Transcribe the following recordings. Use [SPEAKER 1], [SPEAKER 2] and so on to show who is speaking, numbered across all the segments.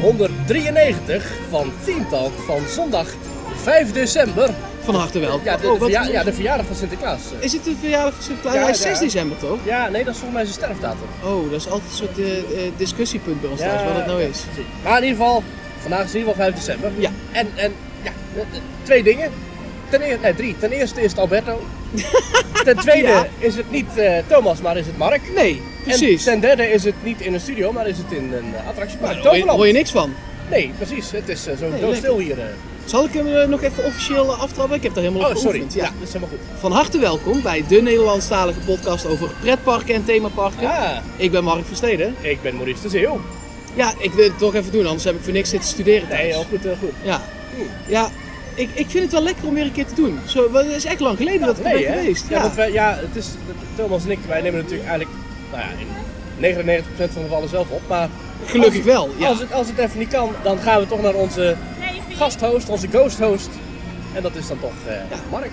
[SPEAKER 1] 193 van Team Talk van zondag 5 december.
[SPEAKER 2] Van harte wel.
[SPEAKER 1] Ja, de,
[SPEAKER 2] Oh,
[SPEAKER 1] de
[SPEAKER 2] wat-
[SPEAKER 1] verja- ja, de verjaardag van Sinterklaas.
[SPEAKER 2] Is het de verjaardag van Sinterklaas?
[SPEAKER 1] Ja,
[SPEAKER 2] Hij
[SPEAKER 1] ja.
[SPEAKER 2] is 6 december toch?
[SPEAKER 1] Ja, nee, dat is volgens mij zijn sterfdatum.
[SPEAKER 2] Oh, dat is altijd een soort eh, eh, discussiepunt bij ons thuis, wat het nou is.
[SPEAKER 1] Maar in ieder geval, vandaag is in ieder geval 5 december.
[SPEAKER 2] Ja.
[SPEAKER 1] En, en ja, eh, eh, twee dingen. Ten eerste, nee, drie. Ten eerste is het Alberto. Ten tweede
[SPEAKER 2] Ja.
[SPEAKER 1] is het niet eh, Thomas, maar is het Mark.
[SPEAKER 2] Nee, precies.
[SPEAKER 1] En ten derde is het niet in een studio, maar is het in een eh, attractiepark.
[SPEAKER 2] Daar hoor je,
[SPEAKER 1] Toverland.
[SPEAKER 2] hoor je niks van.
[SPEAKER 1] Nee, precies. Het is eh, zo
[SPEAKER 2] Nee,
[SPEAKER 1] doodstil hier. eh.
[SPEAKER 2] Zal ik hem eh, nog even officieel eh, aftrappen? Ik heb daar helemaal
[SPEAKER 1] Oh,
[SPEAKER 2] op
[SPEAKER 1] sorry.
[SPEAKER 2] geoefend.
[SPEAKER 1] Ja,
[SPEAKER 2] Ja.
[SPEAKER 1] dat is helemaal goed.
[SPEAKER 2] Van harte welkom bij de Nederlandstalige podcast over pretparken en themaparken.
[SPEAKER 1] Ja,
[SPEAKER 2] Ik ben Mark Versteden.
[SPEAKER 1] ik ben Maurice de Zeeuw.
[SPEAKER 2] Ja, ik wil het toch even doen, anders heb ik voor niks zitten studeren thuis.
[SPEAKER 1] Nee, heel goed, heel goed.
[SPEAKER 2] Ja, ja ik, ik vind het wel lekker om weer een keer te doen. Zo, want het is echt lang geleden dat ik er
[SPEAKER 1] Nee,
[SPEAKER 2] ben
[SPEAKER 1] hè?
[SPEAKER 2] geweest.
[SPEAKER 1] Ja,
[SPEAKER 2] Ja.
[SPEAKER 1] want wij, ja, het is, Thomas en ik, wij nemen natuurlijk eigenlijk, nou ja, in 99% van de gevallen zelf op. Maar
[SPEAKER 2] Gelukkig
[SPEAKER 1] als-
[SPEAKER 2] wel, ja.
[SPEAKER 1] Als het, als het even niet kan, dan gaan we toch naar onze gasthost, onze ghost host. En dat is dan toch eh,
[SPEAKER 2] Ja.
[SPEAKER 1] Mark.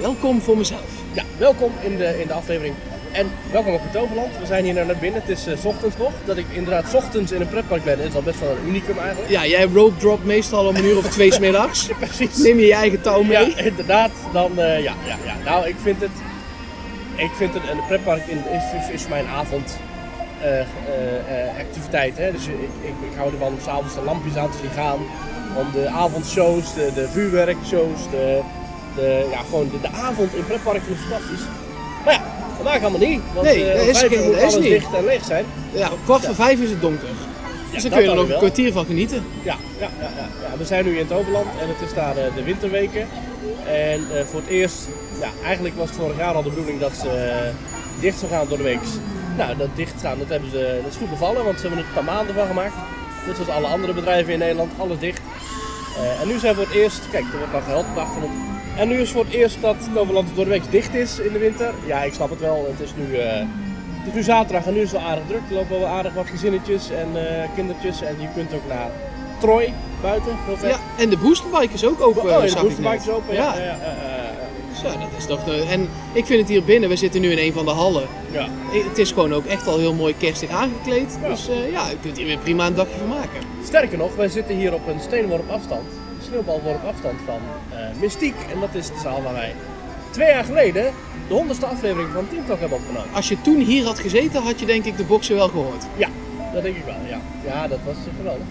[SPEAKER 2] Welkom voor mezelf.
[SPEAKER 1] Ja, welkom in de, in de aflevering. En welkom op het Toverland. We zijn hier nou naar binnen. Het is eh, 's ochtends nog. Dat ik inderdaad 's ochtends in een pretpark ben, is al best wel een unicum eigenlijk.
[SPEAKER 2] Ja, jij rope drop meestal om een uur of twee smiddags.
[SPEAKER 1] Precies.
[SPEAKER 2] Neem je je eigen touw mee.
[SPEAKER 1] Ja, inderdaad. Dan, eh, ja, ja, ja. Nou, ik vind het. Ik vind het een pretpark in, is, is mijn avond. eh, eh, eh, activiteit. Hè? Dus ik, ik, ik hou ervan om s'avonds de lampjes aan te zien gaan. Om de avondshows, de, de vuurwerkshows, de, de, ja, gewoon de, de avond in pretpark vind ik fantastisch. Maar ja, vandaag allemaal niet. Want
[SPEAKER 2] Nee,
[SPEAKER 1] eh,
[SPEAKER 2] er
[SPEAKER 1] om
[SPEAKER 2] is
[SPEAKER 1] vijf uur
[SPEAKER 2] geen-
[SPEAKER 1] moet
[SPEAKER 2] er is
[SPEAKER 1] alles
[SPEAKER 2] niet.
[SPEAKER 1] dicht en leeg zijn.
[SPEAKER 2] Ja, om kwart voor vijf is het donker. Dus
[SPEAKER 1] dat
[SPEAKER 2] dan kun je
[SPEAKER 1] dan
[SPEAKER 2] er nog een
[SPEAKER 1] wel.
[SPEAKER 2] kwartier van genieten.
[SPEAKER 1] Ja, ja, ja, ja, ja. we zijn nu in het Overland en het is daar eh, de winterweken. En eh, voor het eerst, ja, eigenlijk was het vorig jaar al de bedoeling dat ze eh, dicht zou gaan door de week. Nou, dat dichtgaan, dat, hebben ze, dat is goed bevallen, want ze hebben er een paar maanden van gemaakt. Net zoals alle andere bedrijven in Nederland, alles dicht. Eh, en nu zijn we voor het eerst, kijk, er wordt nog gehelpt op de achtergrond. En nu is voor het eerst dat het Overland door de week dicht is in de winter. Ja, ik snap het wel, het is nu... eh, het is nu zaterdag en nu is het wel aardig druk. Er lopen wel aardig wat gezinnetjes en eh, kindertjes. En je kunt ook naar Troy buiten. Heel vet.
[SPEAKER 2] Ja, en de boosterbike is ook open. eh,
[SPEAKER 1] Oh, ja,
[SPEAKER 2] zag ik
[SPEAKER 1] de
[SPEAKER 2] net.
[SPEAKER 1] boosterbike is open. Ja, ja.
[SPEAKER 2] ja.
[SPEAKER 1] ja, ja,
[SPEAKER 2] Zo, dat is toch... de- En ik vind het hier binnen, we zitten nu in een van de hallen. Eh,
[SPEAKER 1] ja. Ja,
[SPEAKER 2] Het is gewoon ook echt al heel mooi kerstig aangekleed.
[SPEAKER 1] Ja.
[SPEAKER 2] Dus eh, ja, je kunt hier weer prima een dagje van maken.
[SPEAKER 1] Sterker nog, wij zitten hier op een steenworp afstand. Een sneeuwbalworp afstand van eh Mystiek. En dat is de zaal waar wij twee jaar geleden de honderdste aflevering van Team Talk hebben opgenomen.
[SPEAKER 2] Als je toen hier had gezeten, had je denk ik de boxen wel gehoord.
[SPEAKER 1] Ja, dat denk ik wel. Ja, ja dat was geweldig.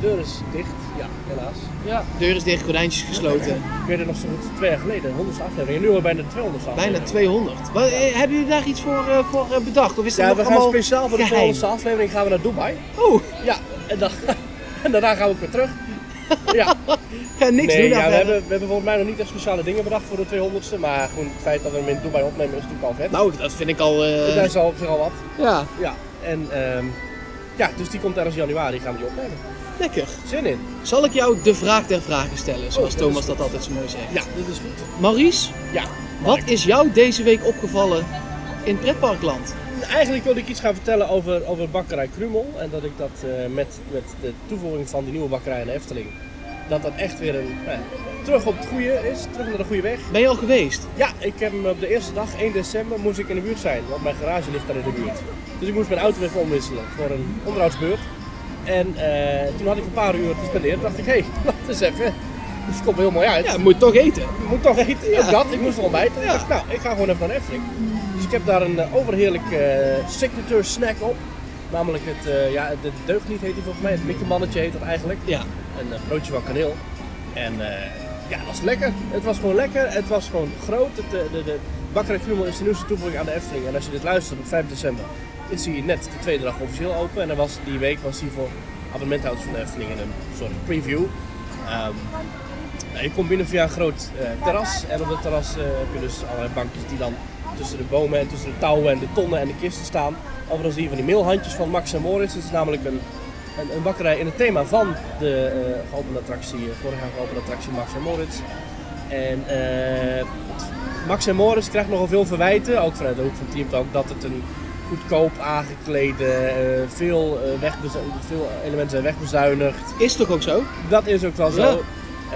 [SPEAKER 1] deur is dicht. Ja, helaas. Ja.
[SPEAKER 2] Deur is dicht, gordijntjes gesloten.
[SPEAKER 1] Ik weet het nog zo goed. Twee jaar geleden, de honderdste aflevering. En nu al bijna de 200
[SPEAKER 2] Bijna 200. Wat, eh, hebben jullie daar iets voor, eh, voor eh, bedacht? Of is dat
[SPEAKER 1] Ja,
[SPEAKER 2] nog
[SPEAKER 1] we gaan
[SPEAKER 2] allemaal
[SPEAKER 1] speciaal voor de
[SPEAKER 2] geheim?
[SPEAKER 1] volgende aflevering gaan we naar Dubai.
[SPEAKER 2] Oh,
[SPEAKER 1] Ja, en, dan, en daarna gaan we ook weer terug. Ja,
[SPEAKER 2] ja, niks
[SPEAKER 1] nee,
[SPEAKER 2] doen
[SPEAKER 1] ja,
[SPEAKER 2] daar
[SPEAKER 1] we,
[SPEAKER 2] verder.
[SPEAKER 1] hebben, we hebben volgens mij nog niet echt speciale dingen bedacht voor de 200ste. Maar gewoon het feit dat we hem in Dubai opnemen is natuurlijk al vet. Dus
[SPEAKER 2] Nou, dat vind ik al... eh,
[SPEAKER 1] Daar is al op zich al wat.
[SPEAKER 2] Ja,
[SPEAKER 1] Ja, en ehm, ja, dus die komt ergens in januari gaan we die opnemen.
[SPEAKER 2] lekker.
[SPEAKER 1] Zin in.
[SPEAKER 2] Zal ik jou de vraag der vragen stellen, zoals
[SPEAKER 1] Oh, dat
[SPEAKER 2] Thomas
[SPEAKER 1] is
[SPEAKER 2] dat altijd zo mooi zegt.
[SPEAKER 1] Ja, dit is goed.
[SPEAKER 2] Maurice,
[SPEAKER 1] Ja,
[SPEAKER 2] wat is jou deze week opgevallen in pretparkland?
[SPEAKER 1] Eigenlijk wilde ik iets gaan vertellen over, over bakkerij Krumel. En dat ik dat eh, met, met de toevoeging van die nieuwe bakkerij in de Efteling. Dat dat echt weer een. nou ja, terug op het goede is, terug naar de goede weg.
[SPEAKER 2] Ben je al geweest?
[SPEAKER 1] Ja, ik heb hem op de eerste dag, 1 december, moest ik in de buurt zijn. Want mijn garage ligt daar in de buurt. Dus ik moest mijn auto even omwisselen voor een onderhoudsbeurt. En eh, toen had ik een paar uur te spenderen. Dacht ik, hé, hey, wacht eens even. Dit komt heel mooi uit.
[SPEAKER 2] Ja, moet toch eten.
[SPEAKER 1] Ik moet toch eten.
[SPEAKER 2] Ja.
[SPEAKER 1] Ook dat, ik moest er ontbijten. Ik
[SPEAKER 2] Ja.
[SPEAKER 1] dacht, nou, ik ga gewoon even naar de Efteling. Dus ik heb daar een eh, overheerlijk eh, signature snack op. Namelijk het, eh ja, de deugniet heet hij volgens mij. Het mikkelmannetje heet dat eigenlijk.
[SPEAKER 2] Ja,
[SPEAKER 1] Een eh, broodje van kaneel. En eh, ja, dat was lekker. Het was gewoon lekker. Het was gewoon groot. Het, eh, de, de Bakkerij Krummel is de nieuwste toevoeging aan de Efteling. En als je dit luistert op 5 december, is hij net de tweede dag officieel open. En dan was, die week was hij voor abonnementhouders van de Efteling in een soort preview. Ehm, nou, je komt binnen via een groot eh, terras. En op dat terras eh, heb je dus allerlei bankjes die dan tussen de bomen en tussen de touwen en de tonnen en de kisten staan. Overigens zie je van die meelhandjes van Max en Morris. Het is namelijk een, een, een bakkerij in het thema van de eh geopende attractie, eh, vorig jaar geopende attractie Max en Morris. En eh, Max en Morris krijgt nogal veel verwijten, ook vanuit de hoek van Team Talk, dat het een goedkoop aangeklede, eh, veel, eh, wegbezu- veel elementen zijn wegbezuinigd.
[SPEAKER 2] is toch ook zo?
[SPEAKER 1] Dat is ook wel zo.
[SPEAKER 2] Ja.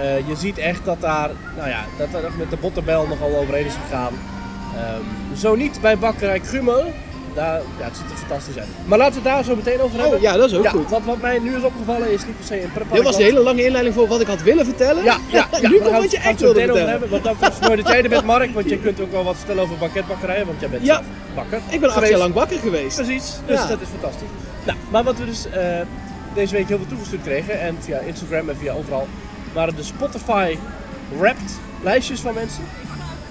[SPEAKER 1] Eh, je ziet echt dat daar, nou ja, dat daar echt met de bottenbel nogal overheen is gegaan. Ehm, zo niet bij bakkerij Krummel, daar, ja, het ziet er fantastisch uit. Maar laten we het daar zo meteen over hebben.
[SPEAKER 2] Oh, ja, dat is ook goed.
[SPEAKER 1] Wat, wat mij nu is opgevallen is niet per se een pretpark.
[SPEAKER 2] Dit was de hele lange inleiding voor wat ik had willen vertellen.
[SPEAKER 1] Ja, ja, ja. maar
[SPEAKER 2] nu
[SPEAKER 1] daar
[SPEAKER 2] komt
[SPEAKER 1] gaan
[SPEAKER 2] wat
[SPEAKER 1] we-
[SPEAKER 2] je
[SPEAKER 1] gaan
[SPEAKER 2] echt
[SPEAKER 1] we het zo
[SPEAKER 2] wilde
[SPEAKER 1] meteen over
[SPEAKER 2] vertellen.
[SPEAKER 1] hebben, Want dat is mooi dat jij er bent, Mark. Want je kunt ook wel wat vertellen over banketbakkerijen. Want jij bent
[SPEAKER 2] Ja.
[SPEAKER 1] zelf bakker.
[SPEAKER 2] Ik ben acht
[SPEAKER 1] geweest.
[SPEAKER 2] jaar lang bakker geweest.
[SPEAKER 1] Precies, dus
[SPEAKER 2] Ja.
[SPEAKER 1] dat is fantastisch. Nou, maar wat we dus eh, deze week heel veel toegestuurd kregen, en via Instagram en via overal, waren de Spotify Wrapped lijstjes van mensen.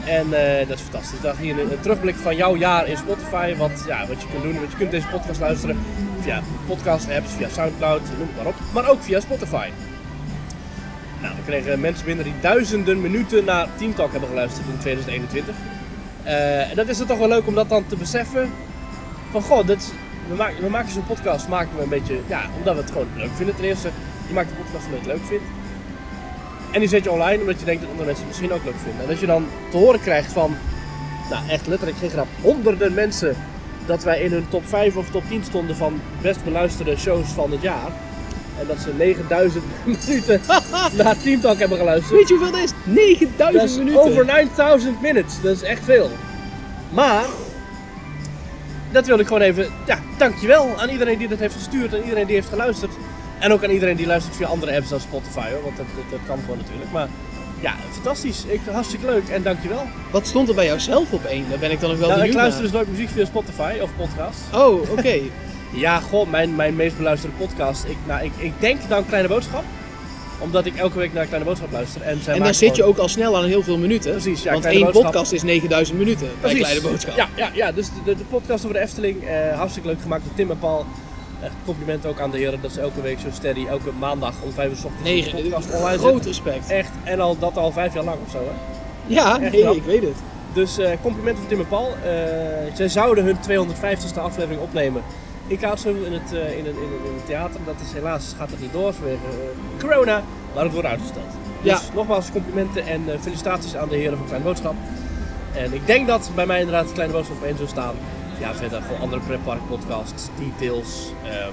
[SPEAKER 1] En eh, dat is fantastisch. Dat hier een, een terugblik van jouw jaar in Spotify. Wat, ja, wat je kunt doen, want je kunt deze podcast luisteren via podcast apps, via Soundcloud, noem het maar op. Maar ook via Spotify. Nou, we kregen mensen binnen die duizenden minuten naar Team Talk hebben geluisterd in 2021. Eh, en dat is dan toch wel leuk om dat dan te beseffen. Van goh, dat is- we, maken, we maken zo'n podcast maken we een beetje, ja, omdat we het gewoon leuk vinden ten eerste. Je maakt een podcast omdat je het leuk vindt. En die zet je online omdat je denkt dat andere mensen het misschien ook leuk vinden. En dat je dan te horen krijgt van, nou echt letterlijk geen grap, honderden mensen dat wij in hun top 5 of top 10 stonden van best beluisterde shows van het jaar. En dat ze 9000 minuten naar Team Talk hebben geluisterd.
[SPEAKER 2] Weet je hoeveel dat is? 9000
[SPEAKER 1] Dat is
[SPEAKER 2] minuten.
[SPEAKER 1] over 9000 minutes. Dat is echt veel. Maar, dat wilde ik gewoon even... Ja, dankjewel aan iedereen die dat heeft gestuurd en iedereen die heeft geluisterd. En ook aan iedereen die luistert via andere apps dan Spotify, hoor, want dat, dat, dat kan gewoon natuurlijk. Maar ja, fantastisch. Ik, hartstikke leuk en dankjewel.
[SPEAKER 2] Wat stond er bij jou zelf op één? Daar ben ik dan ook wel
[SPEAKER 1] Nou, ik
[SPEAKER 2] benieuwd
[SPEAKER 1] luister
[SPEAKER 2] naar.
[SPEAKER 1] dus nooit muziek via Spotify of podcast.
[SPEAKER 2] Oh, oké.
[SPEAKER 1] Ja, goh, mijn, mijn meest beluisterde podcast. Ik, nou, ik, ik denk dan Kleine Boodschap. Omdat ik elke week naar Kleine Boodschap luister. En, zij
[SPEAKER 2] en
[SPEAKER 1] maakt
[SPEAKER 2] daar zit je
[SPEAKER 1] gewoon-
[SPEAKER 2] ook al snel aan heel veel minuten.
[SPEAKER 1] Precies, ja,
[SPEAKER 2] Want
[SPEAKER 1] Kleine
[SPEAKER 2] één
[SPEAKER 1] Boodschap.
[SPEAKER 2] podcast is 9000 minuten bij
[SPEAKER 1] Precies.
[SPEAKER 2] Kleine Boodschap.
[SPEAKER 1] Ja, ja, ja. dus de, de podcast over de Efteling, eh, hartstikke leuk gemaakt door Tim en Paul. Echt compliment ook aan de heren dat ze elke week zo steady, elke maandag om vijf uur 's ochtends een
[SPEAKER 2] Negen, dus
[SPEAKER 1] podcast online
[SPEAKER 2] groot
[SPEAKER 1] zetten.
[SPEAKER 2] respect.
[SPEAKER 1] Echt, en al dat al vijf jaar lang of zo. Hè?
[SPEAKER 2] Ja,
[SPEAKER 1] echt
[SPEAKER 2] nee,
[SPEAKER 1] knap.
[SPEAKER 2] ik weet het.
[SPEAKER 1] Dus eh, complimenten voor Tim en Paul. Eh, zij zouden hun 250ste aflevering opnemen in Kaatsheuvel in het, eh, in, een- in, een- in het theater. Dat is helaas gaat het niet door vanwege eh, corona, maar het wordt uitgesteld. Dus
[SPEAKER 2] Ja.
[SPEAKER 1] nogmaals complimenten en eh, felicitaties aan de heren van Kleine Boodschap. En ik denk dat bij mij inderdaad Kleine Boodschap op één zou staan. Ja, verder gewoon andere pretpark podcasts, details, ehm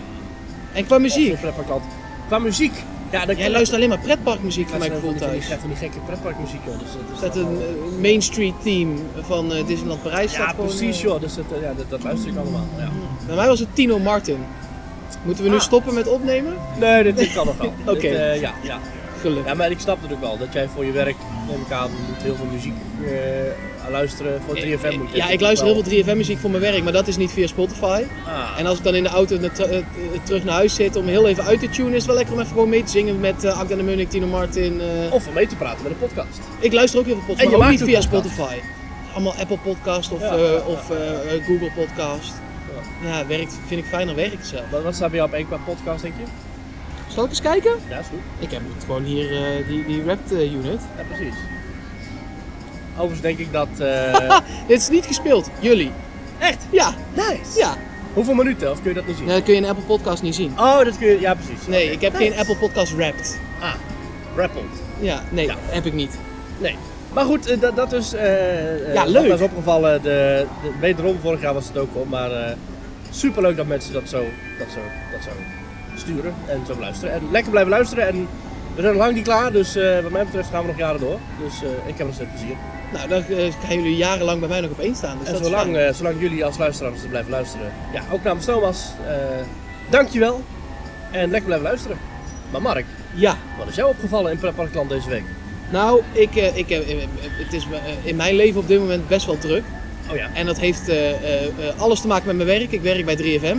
[SPEAKER 2] En qua muziek.
[SPEAKER 1] of een pretparkland. Qua muziek, ja, dan
[SPEAKER 2] Jij luistert alleen maar pretparkmuziek van mijn
[SPEAKER 1] van
[SPEAKER 2] gevoel
[SPEAKER 1] die, van die,
[SPEAKER 2] thuis.
[SPEAKER 1] van die gekke pretparkmuziek, joh. Dus, dat is
[SPEAKER 2] Er staat
[SPEAKER 1] dan
[SPEAKER 2] een
[SPEAKER 1] wel-
[SPEAKER 2] eh, Main Street team van eh, Disneyland Parijs. staat
[SPEAKER 1] Ja,
[SPEAKER 2] gewoon,
[SPEAKER 1] precies,
[SPEAKER 2] eh,
[SPEAKER 1] joh. Dus dat, eh, ja, dat, dat luister ik allemaal. Ja.
[SPEAKER 2] Bij mij was het Tino Martin. Moeten we nu
[SPEAKER 1] Ah.
[SPEAKER 2] stoppen met opnemen?
[SPEAKER 1] Nee, dit, dit kan nog wel.
[SPEAKER 2] Oké.
[SPEAKER 1] Dit, eh, ja, ja.
[SPEAKER 2] Gelukkig.
[SPEAKER 1] ja, maar ik snap het ook wel. Dat jij voor je werk, neem ik aan, moet heel veel muziek eh, luisteren. Voor 3FM moet je natuurlijk
[SPEAKER 2] ja, ik luister heel
[SPEAKER 1] wel-
[SPEAKER 2] veel 3FM muziek voor mijn werk, maar dat is niet via Spotify.
[SPEAKER 1] Ah,
[SPEAKER 2] En als ik dan in de auto naar- ter- eh, eh, terug naar huis zit om heel even uit te tunen, is het wel lekker om even gewoon mee te zingen met eh Akda de Munnik, Tino Martin. eh.
[SPEAKER 1] Of om mee te praten met een podcast.
[SPEAKER 2] Ik luister ook heel veel
[SPEAKER 1] En
[SPEAKER 2] podcasts,
[SPEAKER 1] je
[SPEAKER 2] maar ook
[SPEAKER 1] maakt
[SPEAKER 2] niet via
[SPEAKER 1] ook podcasts.
[SPEAKER 2] Spotify. Allemaal Apple Podcast of,
[SPEAKER 1] Ja,
[SPEAKER 2] eh,
[SPEAKER 1] ja, ja.
[SPEAKER 2] of eh, eh, Google Podcast. Ja, werkt, vind ik fijner werk zelf.
[SPEAKER 1] Wat, wat staat bij jou op één qua podcast, denk je?
[SPEAKER 2] Zal ik eens kijken?
[SPEAKER 1] Ja, is goed.
[SPEAKER 2] Ik heb het gewoon hier, eh, die, die Rapt eh, unit.
[SPEAKER 1] Ja, precies. Overigens denk ik dat... eh,
[SPEAKER 2] Ah, Dit is niet gespeeld, jullie.
[SPEAKER 1] Echt?
[SPEAKER 2] Ja,
[SPEAKER 1] Nice!
[SPEAKER 2] ja.
[SPEAKER 1] Hoeveel minuten, of kun je dat niet zien?
[SPEAKER 2] Nou, dat kun je in Apple Podcast niet zien.
[SPEAKER 1] Oh, dat kun je... Ja, precies.
[SPEAKER 2] Nee,
[SPEAKER 1] Oké.
[SPEAKER 2] ik heb
[SPEAKER 1] Nice.
[SPEAKER 2] geen Apple Podcast Wrapped.
[SPEAKER 1] Ah, rappelt.
[SPEAKER 2] Ja, nee,
[SPEAKER 1] Ja.
[SPEAKER 2] heb ik niet.
[SPEAKER 1] Nee. Maar goed, eh, dat, dat is. eh, eh,
[SPEAKER 2] Ja,
[SPEAKER 1] wat
[SPEAKER 2] leuk.
[SPEAKER 1] mij is opgevallen. De, de, wederom, vorig jaar was het ook al. Maar eh superleuk dat mensen dat zo, dat, zo, dat zo sturen en zo luisteren. En lekker blijven luisteren. En we zijn nog lang niet klaar. Dus eh, wat mij betreft gaan we nog jaren door. Dus eh, ik heb nog steeds plezier.
[SPEAKER 2] Nou, dan eh, gaan jullie jarenlang bij mij nog op één staan. Dus
[SPEAKER 1] en
[SPEAKER 2] dat is
[SPEAKER 1] zolang,
[SPEAKER 2] fijn.
[SPEAKER 1] eh, zolang jullie als luisteraars er blijven luisteren. Ja, ook namens Thomas. eh dankjewel. En lekker blijven luisteren. Maar Mark,
[SPEAKER 2] Ja,
[SPEAKER 1] wat is jou opgevallen in Pretparkland deze week?
[SPEAKER 2] nou, ik, eh, ik, heb- eh, eh, het is me- eh, in mijn leven op dit moment best wel druk.
[SPEAKER 1] Oh ja.
[SPEAKER 2] En dat heeft eh, eh, eh, alles te maken met mijn werk. Ik werk bij 3FM.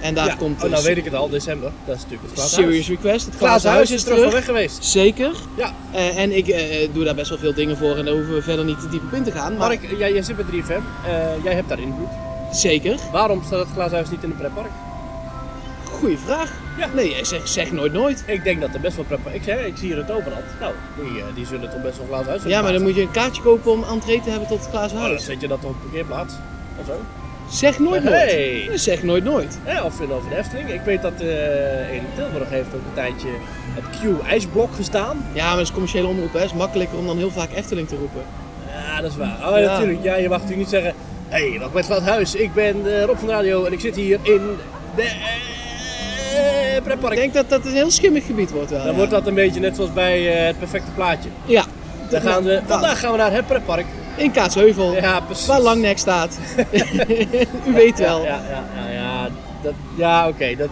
[SPEAKER 2] En daar
[SPEAKER 1] ja.
[SPEAKER 2] komt
[SPEAKER 1] oh,
[SPEAKER 2] eh,
[SPEAKER 1] nou weet ik het al, december. Dat is natuurlijk het
[SPEAKER 2] Serious
[SPEAKER 1] glazen huis.
[SPEAKER 2] Request. Het
[SPEAKER 1] Glazen Huis is terug van weg geweest.
[SPEAKER 2] Zeker.
[SPEAKER 1] Ja.
[SPEAKER 2] Eh, en ik eh, eh, doe daar best wel veel dingen voor en daar hoeven we verder niet te diep op in te gaan. Maar
[SPEAKER 1] Mark, jij, jij zit bij 3FM, Eh, jij hebt daar invloed.
[SPEAKER 2] zeker.
[SPEAKER 1] Waarom staat het glazen huis niet in een pretpark?
[SPEAKER 2] Goeie vraag.
[SPEAKER 1] Ja.
[SPEAKER 2] Nee, eh, zeg, zeg nooit nooit.
[SPEAKER 1] Ik denk dat er best wel pretpark. Ik, zeg, ik zie hier het overland. Nou, die, eh, die zullen toch best wel glazen huis
[SPEAKER 2] Ja, maar dan moet je een kaartje kopen om entree te hebben tot het glazen
[SPEAKER 1] Oh, dan
[SPEAKER 2] huis.
[SPEAKER 1] zet je dat op een parkeerplaats of zo.
[SPEAKER 2] Zeg nooit nooit.
[SPEAKER 1] Hey.
[SPEAKER 2] Eh, Zeg nooit nooit.
[SPEAKER 1] Ja, of in over de Efteling. Ik weet dat eh, in Tilburg heeft ook een tijdje het Q-ijsblok gestaan.
[SPEAKER 2] Ja, maar dat is commerciële omroep. hè. Het is makkelijker om dan heel vaak Efteling te roepen.
[SPEAKER 1] Ja, dat is waar. Oh,
[SPEAKER 2] Ja.
[SPEAKER 1] natuurlijk. Ja, je mag natuurlijk niet zeggen. Hé, hey, welkom bij het glazen huis. Ik ben eh, Rob van de Radio en ik zit hier in de eh, pretpark.
[SPEAKER 2] Ik denk dat dat een heel schimmig gebied wordt wel.
[SPEAKER 1] Dan
[SPEAKER 2] ja.
[SPEAKER 1] wordt dat een beetje net zoals bij eh, het perfecte plaatje.
[SPEAKER 2] Ja.
[SPEAKER 1] Dan gaan we,
[SPEAKER 2] Nou,
[SPEAKER 1] vandaag gaan we naar het pretpark.
[SPEAKER 2] in Kaatsheuvel.
[SPEAKER 1] Ja, precies.
[SPEAKER 2] Waar Langnek staat. U weet wel.
[SPEAKER 1] Ja, ja, ja, ja, ja, dat- ja oké. dat,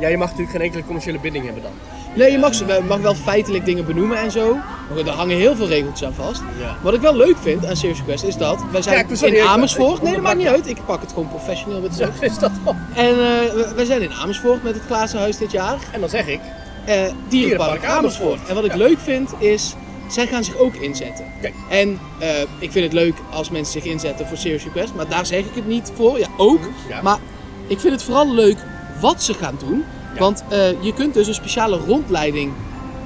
[SPEAKER 1] ja, je mag natuurlijk geen enkele commerciële binding hebben dan.
[SPEAKER 2] Nee, je mag, ze- mag wel feitelijk dingen benoemen en zo. Maar daar hangen heel veel regeltjes aan vast.
[SPEAKER 1] Ja.
[SPEAKER 2] Wat ik wel leuk vind aan Serious Quest is dat... Wij
[SPEAKER 1] Ja,
[SPEAKER 2] zijn
[SPEAKER 1] ik ben sorry,
[SPEAKER 2] in
[SPEAKER 1] ik-
[SPEAKER 2] Amersfoort.
[SPEAKER 1] ik
[SPEAKER 2] nee, dat maakt niet
[SPEAKER 1] onderbrak
[SPEAKER 2] uit. Ik pak het gewoon professioneel met
[SPEAKER 1] Zo
[SPEAKER 2] de
[SPEAKER 1] is dat al.
[SPEAKER 2] En eh, we- wij zijn in Amersfoort met het Glazen Huis dit jaar.
[SPEAKER 1] En dan zeg ik,
[SPEAKER 2] eh, Dierenpark
[SPEAKER 1] Dierenpark
[SPEAKER 2] Amersfoort.
[SPEAKER 1] Amersfoort.
[SPEAKER 2] En wat ik
[SPEAKER 1] Ja.
[SPEAKER 2] leuk vind is, zij gaan zich ook inzetten.
[SPEAKER 1] Kijk.
[SPEAKER 2] En eh, ik vind het leuk als mensen zich inzetten voor Serious Request, maar daar zeg ik het niet voor. Ja, ook.
[SPEAKER 1] Mhm. Ja.
[SPEAKER 2] Maar ik vind het vooral leuk wat ze gaan doen.
[SPEAKER 1] Ja.
[SPEAKER 2] Want eh, je kunt dus een speciale rondleiding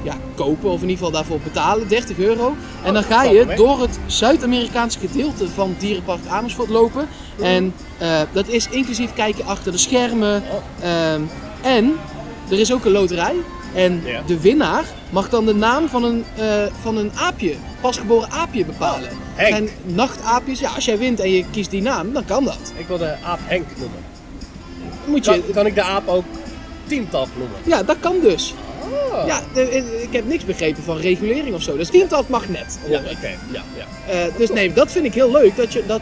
[SPEAKER 2] ja, kopen, of in ieder geval daarvoor betalen, 30 euro. En dan
[SPEAKER 1] Oh, dat
[SPEAKER 2] ga
[SPEAKER 1] valt
[SPEAKER 2] je
[SPEAKER 1] mee.
[SPEAKER 2] door het Zuid-Amerikaanse gedeelte van Dierenpark Amersfoort lopen.
[SPEAKER 1] Mhm.
[SPEAKER 2] En eh, dat is inclusief kijken achter de schermen.
[SPEAKER 1] Oh,
[SPEAKER 2] Ehm, en er is ook een loterij. En
[SPEAKER 1] Ja.
[SPEAKER 2] de winnaar mag dan de naam van een, eh, van een aapje, pasgeboren aapje bepalen.
[SPEAKER 1] Henk.
[SPEAKER 2] En nachtaapjes, ja, als jij wint en je kiest die naam, dan kan dat.
[SPEAKER 1] ik wil de aap Henk noemen.
[SPEAKER 2] Dan Moet je,
[SPEAKER 1] Kan, kan ik de aap ook tiental noemen?
[SPEAKER 2] ja, dat kan dus.
[SPEAKER 1] Oh.
[SPEAKER 2] Ja, de- eh, ik heb niks begrepen van regulering of zo. Dus tiental mag net.
[SPEAKER 1] Ja,
[SPEAKER 2] hoor
[SPEAKER 1] oké.
[SPEAKER 2] ik.
[SPEAKER 1] Ja, ja.
[SPEAKER 2] Eh, dus nee, dat vind ik heel leuk. Dat je, dat,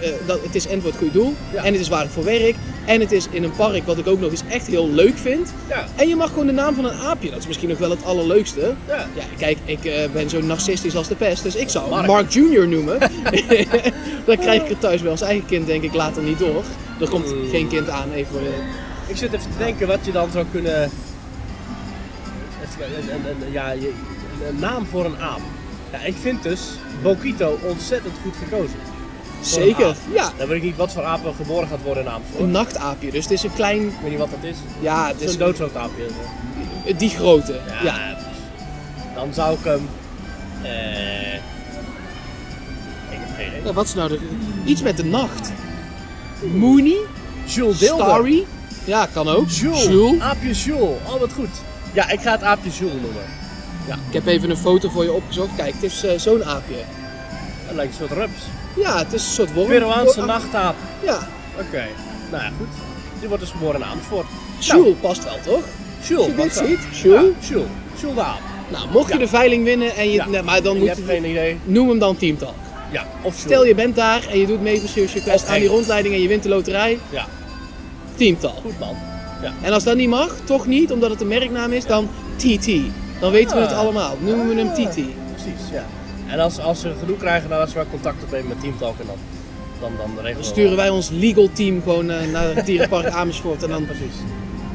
[SPEAKER 2] eh, eh, dat, het is en voor het goede doel,
[SPEAKER 1] Ja.
[SPEAKER 2] en het is waar voor werk, en het is in een park, wat ik ook nog eens echt heel leuk vind.
[SPEAKER 1] Ja,
[SPEAKER 2] En je mag gewoon de naam van een aapje, dat is misschien nog wel het allerleukste.
[SPEAKER 1] ja.
[SPEAKER 2] Ja, kijk, ik eh, ben zo narcistisch als de pest, dus ik zou Mark,
[SPEAKER 1] Mark.
[SPEAKER 2] Jr. noemen. Dan krijg ik het thuis wel als eigen kind, denk ik, later niet door. Er komt
[SPEAKER 1] Mm.
[SPEAKER 2] geen kind aan, even eh, voor de...
[SPEAKER 1] Ik zit even te denken wat je dan zou kunnen. Even kijken, Een, een, een- ja, je- een- een naam voor een aap. Ja, ik vind dus Bokito ontzettend goed gekozen. Voor een
[SPEAKER 2] Zeker,
[SPEAKER 1] aap.
[SPEAKER 2] ja.
[SPEAKER 1] Dan weet ik niet wat voor aap er geboren gaat worden in Amersfoort.
[SPEAKER 2] Een nachtaapje, dus het is een klein...
[SPEAKER 1] Ik weet niet wat dat is.
[SPEAKER 2] Ja,
[SPEAKER 1] Het
[SPEAKER 2] het
[SPEAKER 1] is
[SPEAKER 2] is eh,
[SPEAKER 1] een doodslotaapje.
[SPEAKER 2] die grote.
[SPEAKER 1] Ja.
[SPEAKER 2] ja.
[SPEAKER 1] Dan zou ik hem. eh, ik heb geen idee.
[SPEAKER 2] Ja, wat is nou de... Iets met de nacht. Mooney?
[SPEAKER 1] Jules Dilder.
[SPEAKER 2] Starry? Ja, kan ook.
[SPEAKER 1] Jules.
[SPEAKER 2] Jules.
[SPEAKER 1] Aapje Jules. Oh, wat goed. Ja, ik ga het aapje Jules noemen.
[SPEAKER 2] Ik heb even een foto voor je opgezocht. Kijk, het is eh, zo'n aapje.
[SPEAKER 1] Dat lijkt een soort rups.
[SPEAKER 2] Ja, het is een soort worm.
[SPEAKER 1] Peruaanse
[SPEAKER 2] wo-
[SPEAKER 1] nachtaap.
[SPEAKER 2] Ja.
[SPEAKER 1] Oké, nou ja, goed. Die wordt dus geboren in Amersfoort.
[SPEAKER 2] Jules past wel, toch?
[SPEAKER 1] Jules,
[SPEAKER 2] Nou, Je
[SPEAKER 1] wat
[SPEAKER 2] dit
[SPEAKER 1] dan?
[SPEAKER 2] ziet, Jules.
[SPEAKER 1] Ja, Jules. Jules de Aap.
[SPEAKER 2] Nou, mocht je
[SPEAKER 1] Ja.
[SPEAKER 2] de veiling winnen en je...
[SPEAKER 1] Ja.
[SPEAKER 2] Nee, maar dan
[SPEAKER 1] Ik
[SPEAKER 2] moet
[SPEAKER 1] heb
[SPEAKER 2] je...
[SPEAKER 1] geen idee.
[SPEAKER 2] Noem hem dan Teamtalk.
[SPEAKER 1] Ja, of Jules.
[SPEAKER 2] Stel je bent daar en je doet mee voor Serious Request
[SPEAKER 1] Of
[SPEAKER 2] aan die
[SPEAKER 1] Engels.
[SPEAKER 2] rondleiding en je wint de loterij.
[SPEAKER 1] Ja,
[SPEAKER 2] Teamtalk.
[SPEAKER 1] goed man.
[SPEAKER 2] En als dat niet mag, toch niet, omdat het een merknaam is, dan TT. Dan weten we het
[SPEAKER 1] Ah.
[SPEAKER 2] allemaal. Noemen we hem
[SPEAKER 1] Ah,
[SPEAKER 2] TT.
[SPEAKER 1] Precies, ja. En als, als ze genoeg krijgen, dan laten ze maar contact opnemen met Teamtalk en dan, dan, dan regelen we
[SPEAKER 2] Dan sturen wij ons legal team gewoon eh, naar het dierenpark Amersfoort en
[SPEAKER 1] wel.
[SPEAKER 2] dan
[SPEAKER 1] Precies.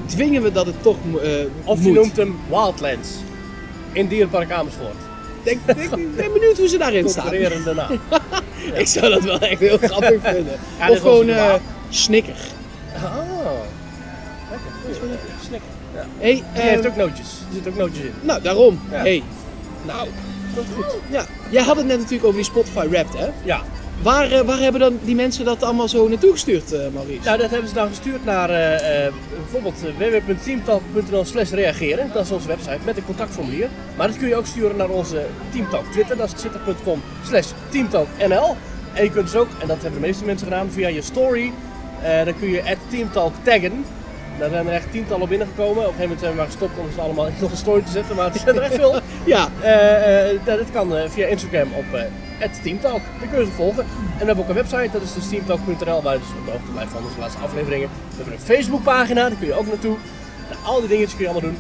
[SPEAKER 2] dwingen we dat het toch mo- eh,
[SPEAKER 1] Of je
[SPEAKER 2] moet.
[SPEAKER 1] noemt hem Wildlands. In Dierenpark Amersfoort.
[SPEAKER 2] Ik ben ben benieuwd hoe ze daarin staan.
[SPEAKER 1] Concurrerende naam.
[SPEAKER 2] Ik zou dat wel echt heel grappig vinden.
[SPEAKER 1] Ja, dit
[SPEAKER 2] of
[SPEAKER 1] was
[SPEAKER 2] gewoon
[SPEAKER 1] het
[SPEAKER 2] eh,
[SPEAKER 1] normaal.
[SPEAKER 2] snikker. Ah.
[SPEAKER 1] Oh. Lekker, dat is wel lekker. Snikker. Ja.
[SPEAKER 2] Hey,
[SPEAKER 1] Die
[SPEAKER 2] eh,
[SPEAKER 1] heeft ook nootjes. Er zitten ook nootjes in.
[SPEAKER 2] nou daarom.
[SPEAKER 1] Ja.
[SPEAKER 2] Hey,
[SPEAKER 1] Nou, dat is goed.
[SPEAKER 2] ja. Jij had het net natuurlijk over die Spotify Wrapped, hè?
[SPEAKER 1] Ja,
[SPEAKER 2] Waar, eh, waar hebben dan die mensen dat allemaal zo naartoe gestuurd, eh, Maurice?
[SPEAKER 1] Nou, dat hebben ze dan gestuurd naar eh, eh, bijvoorbeeld eh, www.teamtalk.nl slash reageren. Dat is onze website met een contactformulier. Maar dat kun je ook sturen naar onze Teamtalk Twitter. Dat is twitter.com slash teamtalknl. En je kunt dus ook, en dat hebben de meeste mensen gedaan, via je story. eh, dan kun je at teamtalk taggen. Nou, Daar zijn er echt tientallen binnengekomen. Op een gegeven moment zijn we maar gestopt om ze allemaal in onze story te zetten. Maar het zijn er echt veel.
[SPEAKER 2] Ja,
[SPEAKER 1] Eh, eh, dat, dat kan eh, via Instagram op het Teamtalk. Dan kun je ze volgen. En we hebben ook een website, dat is dus teamtalk.nl, waar je dus op de hoogte blijft van onze laatste afleveringen. We hebben een Facebookpagina, daar kun je ook naartoe. Nou, al die dingetjes kun je allemaal doen.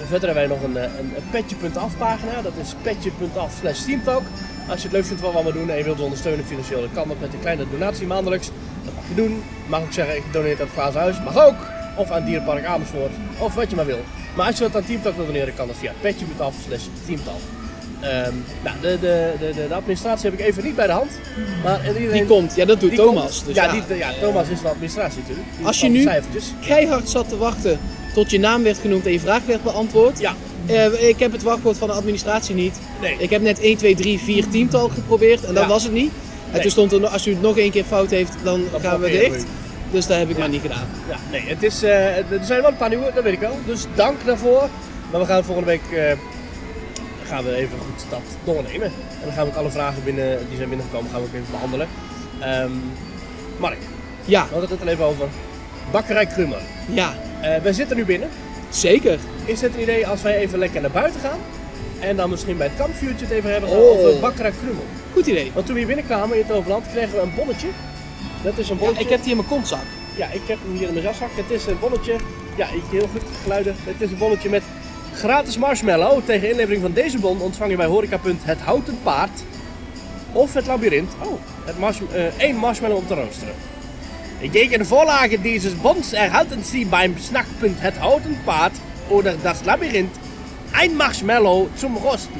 [SPEAKER 1] En verder hebben wij nog een, eh, een, een petje.af pagina, dat is petje.af slash teamtalk. Als je het leuk vindt wat we allemaal doen en je wilt ons ondersteunen financieel, dan kan dat met een kleine donatie maandelijks. Dat mag je doen. Je Mag ook zeggen, ik doneer aan het Glazen Huis. Mag ook. Of aan Dierenpark Amersfoort. Of wat je maar wil. Maar als je dat aan Teamtalk wil doneren, kan dat via petje.af slash teamtalk. Ehm, nou, de, de, de, de, de administratie heb ik even niet bij de hand. Maar iedereen,
[SPEAKER 2] die komt. Ja, dat doet
[SPEAKER 1] eh, die
[SPEAKER 2] Thomas.
[SPEAKER 1] komt.
[SPEAKER 2] Dus
[SPEAKER 1] ja,
[SPEAKER 2] ja,
[SPEAKER 1] die- ja, Thomas is de administratie natuurlijk. Die
[SPEAKER 2] Als je
[SPEAKER 1] kan
[SPEAKER 2] nu-
[SPEAKER 1] Cijfertjes.
[SPEAKER 2] keihard zat te wachten tot je naam werd genoemd en je vraag werd beantwoord.
[SPEAKER 1] Ja,
[SPEAKER 2] Eh, ik heb het wachtwoord van de administratie niet.
[SPEAKER 1] nee.
[SPEAKER 2] Ik heb net 1, 2, 3, 4 tiental geprobeerd en dat
[SPEAKER 1] Ja.
[SPEAKER 2] was het niet. En
[SPEAKER 1] Nee.
[SPEAKER 2] toen stond er, nog- als u het nog één keer fout heeft, dan
[SPEAKER 1] Dan
[SPEAKER 2] gaan we
[SPEAKER 1] blokkeren
[SPEAKER 2] dicht.
[SPEAKER 1] we
[SPEAKER 2] Dus dat heb ik
[SPEAKER 1] Ja.
[SPEAKER 2] maar niet gedaan.
[SPEAKER 1] Ja, nee, het is, eh, er zijn wel een paar nieuwe, dat weet ik wel. Dus dank daarvoor. Maar we gaan volgende week eh, gaan we even goed dat doornemen. En dan gaan we ook alle vragen binnen, die zijn binnengekomen, gaan we ook even behandelen. Ehm, Mark,
[SPEAKER 2] Ja,
[SPEAKER 1] we hadden het net al even over. Bakkerij Krummer.
[SPEAKER 2] ja,
[SPEAKER 1] Eh, wij zitten nu binnen.
[SPEAKER 2] zeker.
[SPEAKER 1] Is het een idee als wij even lekker naar buiten gaan? En dan misschien bij het kampvuurtje het even hebben
[SPEAKER 2] Oh.
[SPEAKER 1] over Bakra Krummel.
[SPEAKER 2] Goed idee.
[SPEAKER 1] Want toen we hier binnenkwamen in het Overland kregen we een bonnetje. Dat is een
[SPEAKER 2] Ja,
[SPEAKER 1] bonnetje.
[SPEAKER 2] ik heb die in mijn kontzak.
[SPEAKER 1] Ja, ik heb hem hier in mijn jaszak. Het is een bonnetje. Ja, ik heel goed geluiden. Het is een bonnetje met gratis marshmallow. Tegen inlevering van deze bon ontvang je bij horecapunt het houten paard of het labyrint. Oh, het mars eh, één marshmallow om te roosteren. Ik denk in de voorlage deze bons erhalten Sie beim snackpunt het houten paard oder das labyrint een marshmallow zum rosten.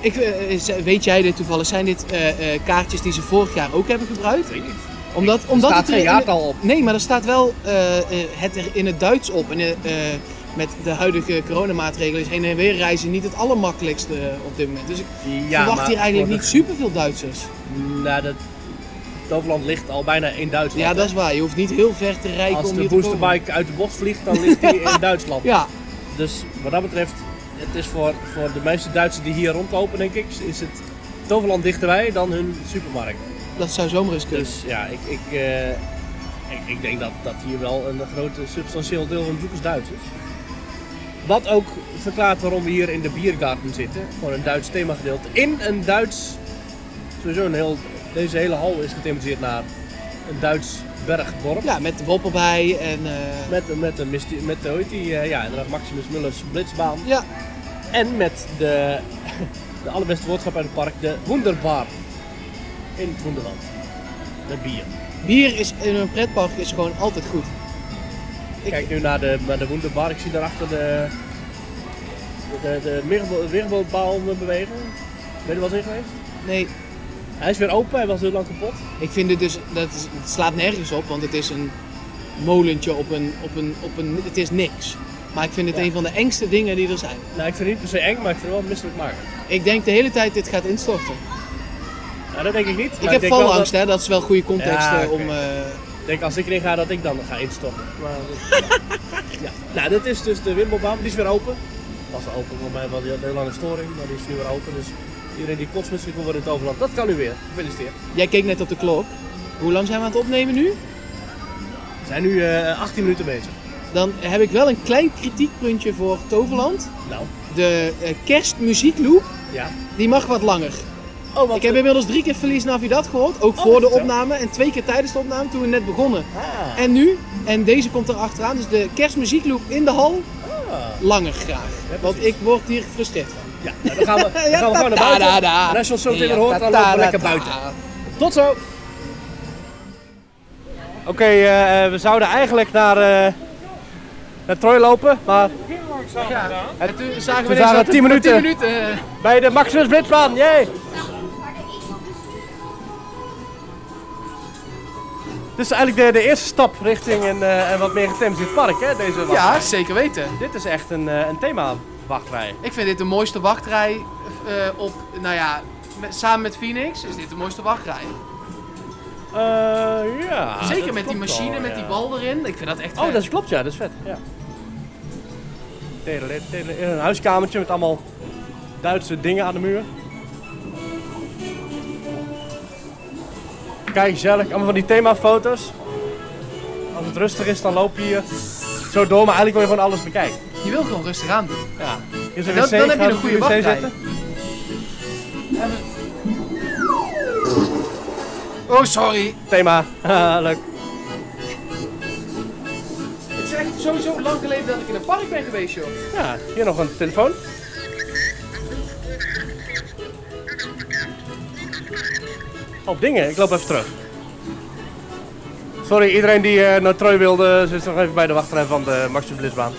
[SPEAKER 2] Ik, eh, eh, ze- weet jij dit toevallig? Zijn dit eh, eh, kaartjes die ze vorig jaar ook hebben gebruikt?
[SPEAKER 1] Denk ik.
[SPEAKER 2] Omdat,
[SPEAKER 1] Er
[SPEAKER 2] omdat
[SPEAKER 1] staat
[SPEAKER 2] het er
[SPEAKER 1] geen
[SPEAKER 2] in het-
[SPEAKER 1] jaartal op.
[SPEAKER 2] Nee, maar er staat wel eh, eh, het er in het Duits op. En eh, eh, met de huidige coronamaatregelen is heen en weer reizen niet het allermakkelijkste eh, op dit moment. Dus ik
[SPEAKER 1] Ja,
[SPEAKER 2] verwacht
[SPEAKER 1] maar
[SPEAKER 2] hier eigenlijk
[SPEAKER 1] voor
[SPEAKER 2] niet superveel Duitsers.
[SPEAKER 1] de- Nou, dat, Toverland ligt al bijna in Duitsland.
[SPEAKER 2] Ja, dat is waar. Je hoeft niet heel ver te rijden
[SPEAKER 1] Als
[SPEAKER 2] om
[SPEAKER 1] de
[SPEAKER 2] hier te komen.
[SPEAKER 1] boosterbike uit de bocht vliegt, dan ligt hij in Duitsland.
[SPEAKER 2] Ja,
[SPEAKER 1] Dus wat dat betreft, het is voor, voor de meeste Duitsers die hier rondlopen, denk ik, is het Toverland dichterbij dan hun supermarkt.
[SPEAKER 2] dat zou zomaar eens kunnen.
[SPEAKER 1] Dus ja, ik, ik, eh, ik, ik denk dat, dat hier wel een groot eh, substantieel deel van de bezoekers Duits is. Wat ook verklaart waarom we hier in de Biergarten zitten. Gewoon een Duits themagedeelte. In een Duits. Sowieso een heel. Deze hele hal is gethematiseerd naar een Duits bergdorp.
[SPEAKER 2] Ja, met de Bob erbij en... eh,
[SPEAKER 1] Met, met, een mysti- met de, hoe heet die, eh, ja, inderdaad Maximus Mullers Blitzbaan.
[SPEAKER 2] Ja,
[SPEAKER 1] En met de, de allerbeste woordschap uit het park, de Wunderbar. In het Wonderland. Met bier.
[SPEAKER 2] bier is, in een pretpark is gewoon altijd goed.
[SPEAKER 1] Ik kijk nu naar de, naar de Wunderbar. Ik zie daarachter de, de, de Mirbo- weerbootbouw bewegen. Ben je er wel eens in geweest?
[SPEAKER 2] Nee,
[SPEAKER 1] Hij is weer open, hij was heel lang kapot.
[SPEAKER 2] Ik vind dit dus, dat is, het slaat nergens op, want het is een molentje op een, op een, op een, het is niks. Maar ik vind het
[SPEAKER 1] Ja.
[SPEAKER 2] een van de engste dingen die er zijn.
[SPEAKER 1] Nou, ik vind het niet per se eng, maar ik vind het wel misselijk maken.
[SPEAKER 2] Ik denk de hele tijd dit gaat instorten.
[SPEAKER 1] Nou, dat denk ik niet. maar
[SPEAKER 2] ik heb
[SPEAKER 1] denk wel
[SPEAKER 2] valangst, hè, dat is wel goede context
[SPEAKER 1] Ja,
[SPEAKER 2] eh, om...
[SPEAKER 1] oké.
[SPEAKER 2] eh,
[SPEAKER 1] Ik denk als ik erin ga dat ik dan ga instoppen. Maar, ja. Nou, dit is dus de Wimbledbaan. Die is weer open. Was al open, voor mij wel die had een heel lange storing, maar die is nu weer open. Dus iedereen die kots misschien wil worden in het overland, dat kan nu weer. Gefeliciteerd.
[SPEAKER 2] jij keek net op de klok. Hoe lang zijn we aan het opnemen nu?
[SPEAKER 1] We zijn nu eh, 18 minuten bezig.
[SPEAKER 2] Dan heb ik wel een klein kritiekpuntje voor Toverland.
[SPEAKER 1] Nou,
[SPEAKER 2] De eh, kerstmuziekloop,
[SPEAKER 1] ja.
[SPEAKER 2] die mag wat langer.
[SPEAKER 1] Oh, want
[SPEAKER 2] Ik heb inmiddels drie keer Feliz Navidad gehoord, ook
[SPEAKER 1] Oh,
[SPEAKER 2] voor de
[SPEAKER 1] vertel.
[SPEAKER 2] opname en twee keer tijdens de opname toen we net begonnen.
[SPEAKER 1] Ah,
[SPEAKER 2] En nu, en deze komt erachteraan, dus de kerstmuziekloop in de hal,
[SPEAKER 1] ah.
[SPEAKER 2] langer graag.
[SPEAKER 1] precies.
[SPEAKER 2] Want ik word hier gefrustreerd van.
[SPEAKER 1] Ja, nou, dan gaan we, dan gaan we
[SPEAKER 2] Ja,
[SPEAKER 1] gewoon naar
[SPEAKER 2] ta-
[SPEAKER 1] buiten.
[SPEAKER 2] ta- da.
[SPEAKER 1] En als je ons zo meteen
[SPEAKER 2] Ja,
[SPEAKER 1] weer hoort, dan
[SPEAKER 2] ta-
[SPEAKER 1] lopen we
[SPEAKER 2] ta-
[SPEAKER 1] lekker
[SPEAKER 2] da.
[SPEAKER 1] buiten. Tot zo! Oké, eh, we zouden eigenlijk naar, eh, naar Troy lopen, maar
[SPEAKER 2] En toen zagen
[SPEAKER 1] Toen
[SPEAKER 2] we ineens
[SPEAKER 1] waren
[SPEAKER 2] dat
[SPEAKER 1] het 10
[SPEAKER 2] het maar 10
[SPEAKER 1] minuten.
[SPEAKER 2] minuten, eh,
[SPEAKER 1] bij de Maximus Blitzbaan, jee! Dit is eigenlijk de, de eerste stap richting een, eh, een wat meer gethematiseerd park, hè? Deze wachtrij.
[SPEAKER 2] Ja, zeker weten.
[SPEAKER 1] Dit is echt een, eh, een thema-wachtrij.
[SPEAKER 2] Ik vind dit de mooiste wachtrij eh, op, nou ja, met- samen met Phoenix is dit de mooiste wachtrij.
[SPEAKER 1] Eh, ja.
[SPEAKER 2] zeker
[SPEAKER 1] Ah, dat
[SPEAKER 2] met die
[SPEAKER 1] klopt
[SPEAKER 2] machine,
[SPEAKER 1] wel,
[SPEAKER 2] met
[SPEAKER 1] ja.
[SPEAKER 2] die bal erin. Ik vind dat echt eh,
[SPEAKER 1] Oh,
[SPEAKER 2] vet.
[SPEAKER 1] dat is, klopt, ja, dat is vet. Ja. Tele, tele, een huiskamertje met allemaal Duitse dingen aan de muur. Kijk, gezellig. Allemaal van die themafoto's. Als het rustig is, dan loop je hier zo door, maar eigenlijk wil je gewoon alles bekijken.
[SPEAKER 2] Je wil gewoon rustig aan doen.
[SPEAKER 1] Ja. Hier is een
[SPEAKER 2] Dan-
[SPEAKER 1] wc,
[SPEAKER 2] dan heb je
[SPEAKER 1] ga
[SPEAKER 2] een
[SPEAKER 1] op de
[SPEAKER 2] goede
[SPEAKER 1] wc
[SPEAKER 2] wachtrij.
[SPEAKER 1] zitten.
[SPEAKER 2] Oh, sorry.
[SPEAKER 1] Thema. Haha, Leuk.
[SPEAKER 2] Het is echt sowieso lang geleden dat ik in een park ben geweest, joh.
[SPEAKER 1] Ja, hier nog een telefoon. Op dingen, ik loop even terug. Sorry, iedereen die eh, naar Troy wilde, ze is nog even bij de wachtrij van de Maximus Blisbaan.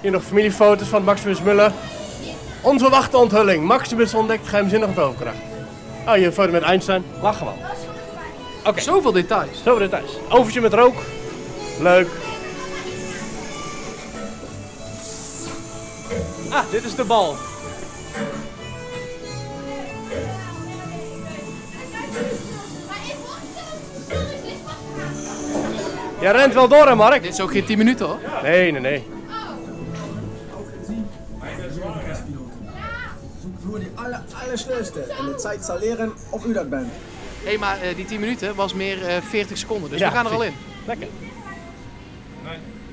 [SPEAKER 1] Hier nog familiefoto's van Maximus Muller. Onverwachte onthulling. Maximus ontdekt geheimzinnige toverkracht. Oh, hier een foto met Einstein. Lachen wel.
[SPEAKER 2] Zoveel details.
[SPEAKER 1] Zo details. Overtje met rook. Leuk. Ah, dit is de bal. Jij rent wel door hè Mark?
[SPEAKER 2] Dit is ook geen 10 minuten, hoor.
[SPEAKER 1] Nee, nee, nee.
[SPEAKER 3] Nur die aller, allerschnellste in der Zeit zerleeren auf Uerdakband.
[SPEAKER 2] Hé, maar eh, die 10 minuten was meer eh 40 seconden, dus
[SPEAKER 1] Ja,
[SPEAKER 2] we gaan er al in.
[SPEAKER 1] Lekker. Ik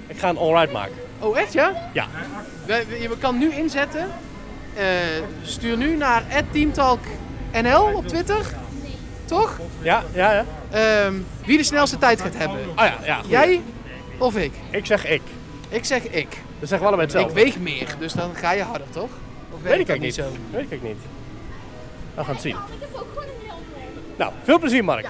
[SPEAKER 1] Ik ga een all-ride maken.
[SPEAKER 2] Oh, echt ja?
[SPEAKER 1] Ja.
[SPEAKER 2] We- we- Je kan nu inzetten. Eh, stuur nu naar @teamtalknl op Twitter. Toch?
[SPEAKER 1] Ja, ja, ja.
[SPEAKER 2] Ehm, wie de snelste tijd gaat hebben.
[SPEAKER 1] Ah ja, ja. goed.
[SPEAKER 2] Jij of ik?
[SPEAKER 1] Ik zeg ik.
[SPEAKER 2] Ik zeg ik.
[SPEAKER 1] Dat zeggen we allebei
[SPEAKER 2] Ik
[SPEAKER 1] hetzelfde.
[SPEAKER 2] weeg meer, dus dan ga je harder, toch?
[SPEAKER 1] Weet
[SPEAKER 2] Of werkt
[SPEAKER 1] ik
[SPEAKER 2] dat
[SPEAKER 1] eigenlijk niet.
[SPEAKER 2] zo?
[SPEAKER 1] Weet ik eigenlijk niet. We gaan het zien.
[SPEAKER 4] Ik heb ook gewoon een heel mooi.
[SPEAKER 1] Nou, veel plezier Mark.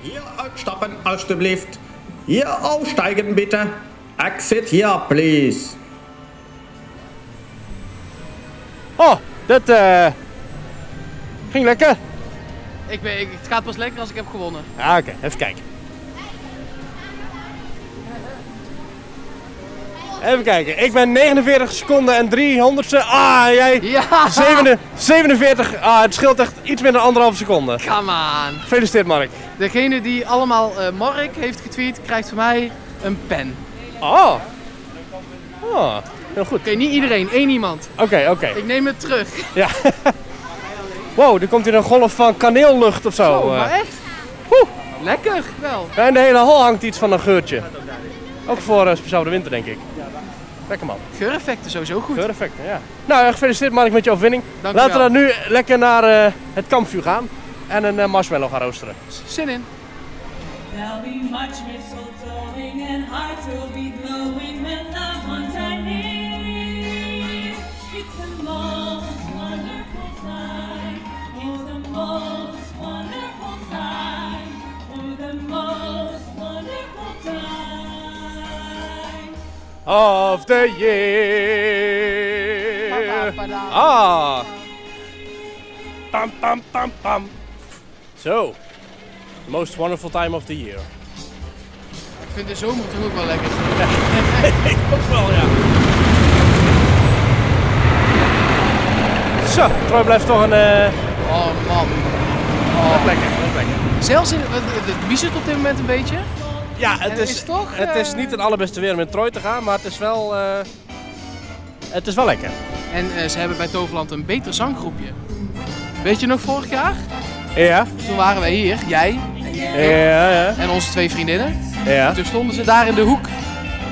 [SPEAKER 5] Hier ausstappen, alstublieft. Hier aussteigen, bitte. Exit hier, please.
[SPEAKER 1] Oh, dat eh, ging lekker.
[SPEAKER 2] Ik ben, ik, het gaat pas lekker als ik heb gewonnen.
[SPEAKER 1] Ja, oké. Even kijken. Even kijken. Ik ben 49 seconden en 300ste. Ah, jij...
[SPEAKER 2] Ja!
[SPEAKER 1] 7 47. Ah, het scheelt echt iets minder dan anderhalf seconde.
[SPEAKER 2] Come on!
[SPEAKER 1] Gefeliciteerd Mark.
[SPEAKER 2] Degene die allemaal eh, Mark heeft getweet, krijgt van mij een pen.
[SPEAKER 1] Oh. Oh, heel goed.
[SPEAKER 2] Oké, niet iedereen, één iemand.
[SPEAKER 1] Oké, oké.
[SPEAKER 2] Ik neem het terug.
[SPEAKER 1] Ja. Wow, er komt hier een golf van kaneellucht of zo.
[SPEAKER 2] Oh,
[SPEAKER 1] eh.
[SPEAKER 2] maar echt?
[SPEAKER 1] Oeh.
[SPEAKER 2] Lekker, wel.
[SPEAKER 1] En de hele hal hangt iets van een geurtje. Ook voor eh, speciaal de winter, denk ik. Lekker man.
[SPEAKER 2] Geureffecten sowieso goed.
[SPEAKER 1] Geureffecten, ja. Nou, eh, gefeliciteerd Mark met je overwinning.
[SPEAKER 2] Dank
[SPEAKER 1] Laten we
[SPEAKER 2] je wel.
[SPEAKER 1] dan nu lekker naar eh, het kampvuur gaan. En een eh, marshmallow gaan roosteren.
[SPEAKER 2] Zin in.
[SPEAKER 6] There'll be much mistletoeing and hearts will be glowing when loved ones are near. It's the most wonderful time. It's the most wonderful time. Oh, the most wonderful time.
[SPEAKER 1] Of the year. Ah. Pam, pam, pam, pam. Zo. The most wonderful time of the year.
[SPEAKER 2] Ik vind de zomer toch ook wel lekker.
[SPEAKER 1] Ook wel, ja. Zo, Troy blijft toch een... eh
[SPEAKER 2] Oh man.
[SPEAKER 1] blijft lekker, blijft lekker.
[SPEAKER 2] Zelfs in, het miezelt op dit moment een beetje.
[SPEAKER 1] Ja, het
[SPEAKER 2] het
[SPEAKER 1] is,
[SPEAKER 2] is toch,
[SPEAKER 1] het
[SPEAKER 2] eh,
[SPEAKER 1] is niet het allerbeste weer om met Troy te gaan, maar het is wel... eh, het is wel lekker.
[SPEAKER 2] En eh, ze hebben bij Toverland een beter zanggroepje. Weet je nog vorig jaar?
[SPEAKER 1] Ja,
[SPEAKER 2] Toen waren wij hier, jij
[SPEAKER 1] ja, ja.
[SPEAKER 2] en onze twee vriendinnen.
[SPEAKER 1] Ja,
[SPEAKER 2] Toen stonden ze daar in de hoek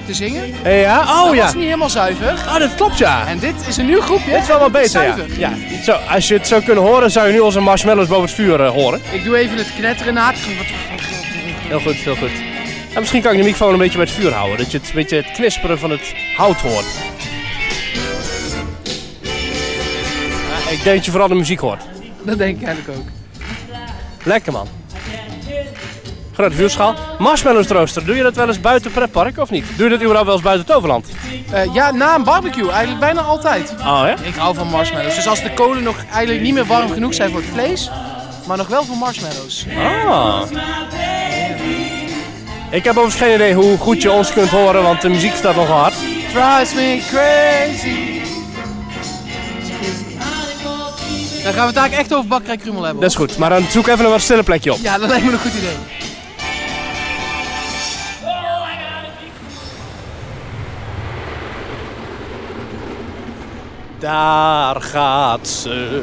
[SPEAKER 2] te zingen.
[SPEAKER 1] ja.
[SPEAKER 2] dat
[SPEAKER 1] oh ja.
[SPEAKER 2] was niet helemaal zuiver.
[SPEAKER 1] Oh, dat klopt ja.
[SPEAKER 2] En dit is een nieuw groepje.
[SPEAKER 1] Dit is wel wat beter, ja.
[SPEAKER 2] Zuiver.
[SPEAKER 1] ja. Zo, als je het zou kunnen horen, zou je nu onze marshmallows boven het vuur eh, horen.
[SPEAKER 2] Ik doe even het knetteren na.
[SPEAKER 1] Heel goed, heel goed. En misschien kan ik de microfoon een beetje bij het vuur houden, dat je het, een beetje het knisperen van het hout hoort. Ja, ik denk dat je vooral de muziek hoort.
[SPEAKER 2] Dat denk ik eigenlijk ook.
[SPEAKER 1] Lekker man. Grote vuurschaal. Marshmallows rooster, doe je dat wel eens buiten pretpark of niet? Doe je dat überhaupt wel eens buiten Toverland?
[SPEAKER 2] Eh, ja, na een barbecue. Eigenlijk bijna altijd.
[SPEAKER 1] Oh ja?
[SPEAKER 2] Ik hou van marshmallows. Dus als de kolen nog eigenlijk niet meer warm genoeg zijn voor het vlees, maar nog wel voor marshmallows.
[SPEAKER 1] Ah. Ik heb overigens geen idee hoe goed je ons kunt horen, want de muziek staat nogal hard.
[SPEAKER 2] Drives me crazy. Dan gaan we het eigenlijk echt over bakkerij Krummel hebben.
[SPEAKER 1] Dat is
[SPEAKER 2] hoor.
[SPEAKER 1] goed, maar dan zoek even een wat stille plekje op.
[SPEAKER 2] Ja, dat lijkt me een goed idee.
[SPEAKER 1] Daar gaat ze.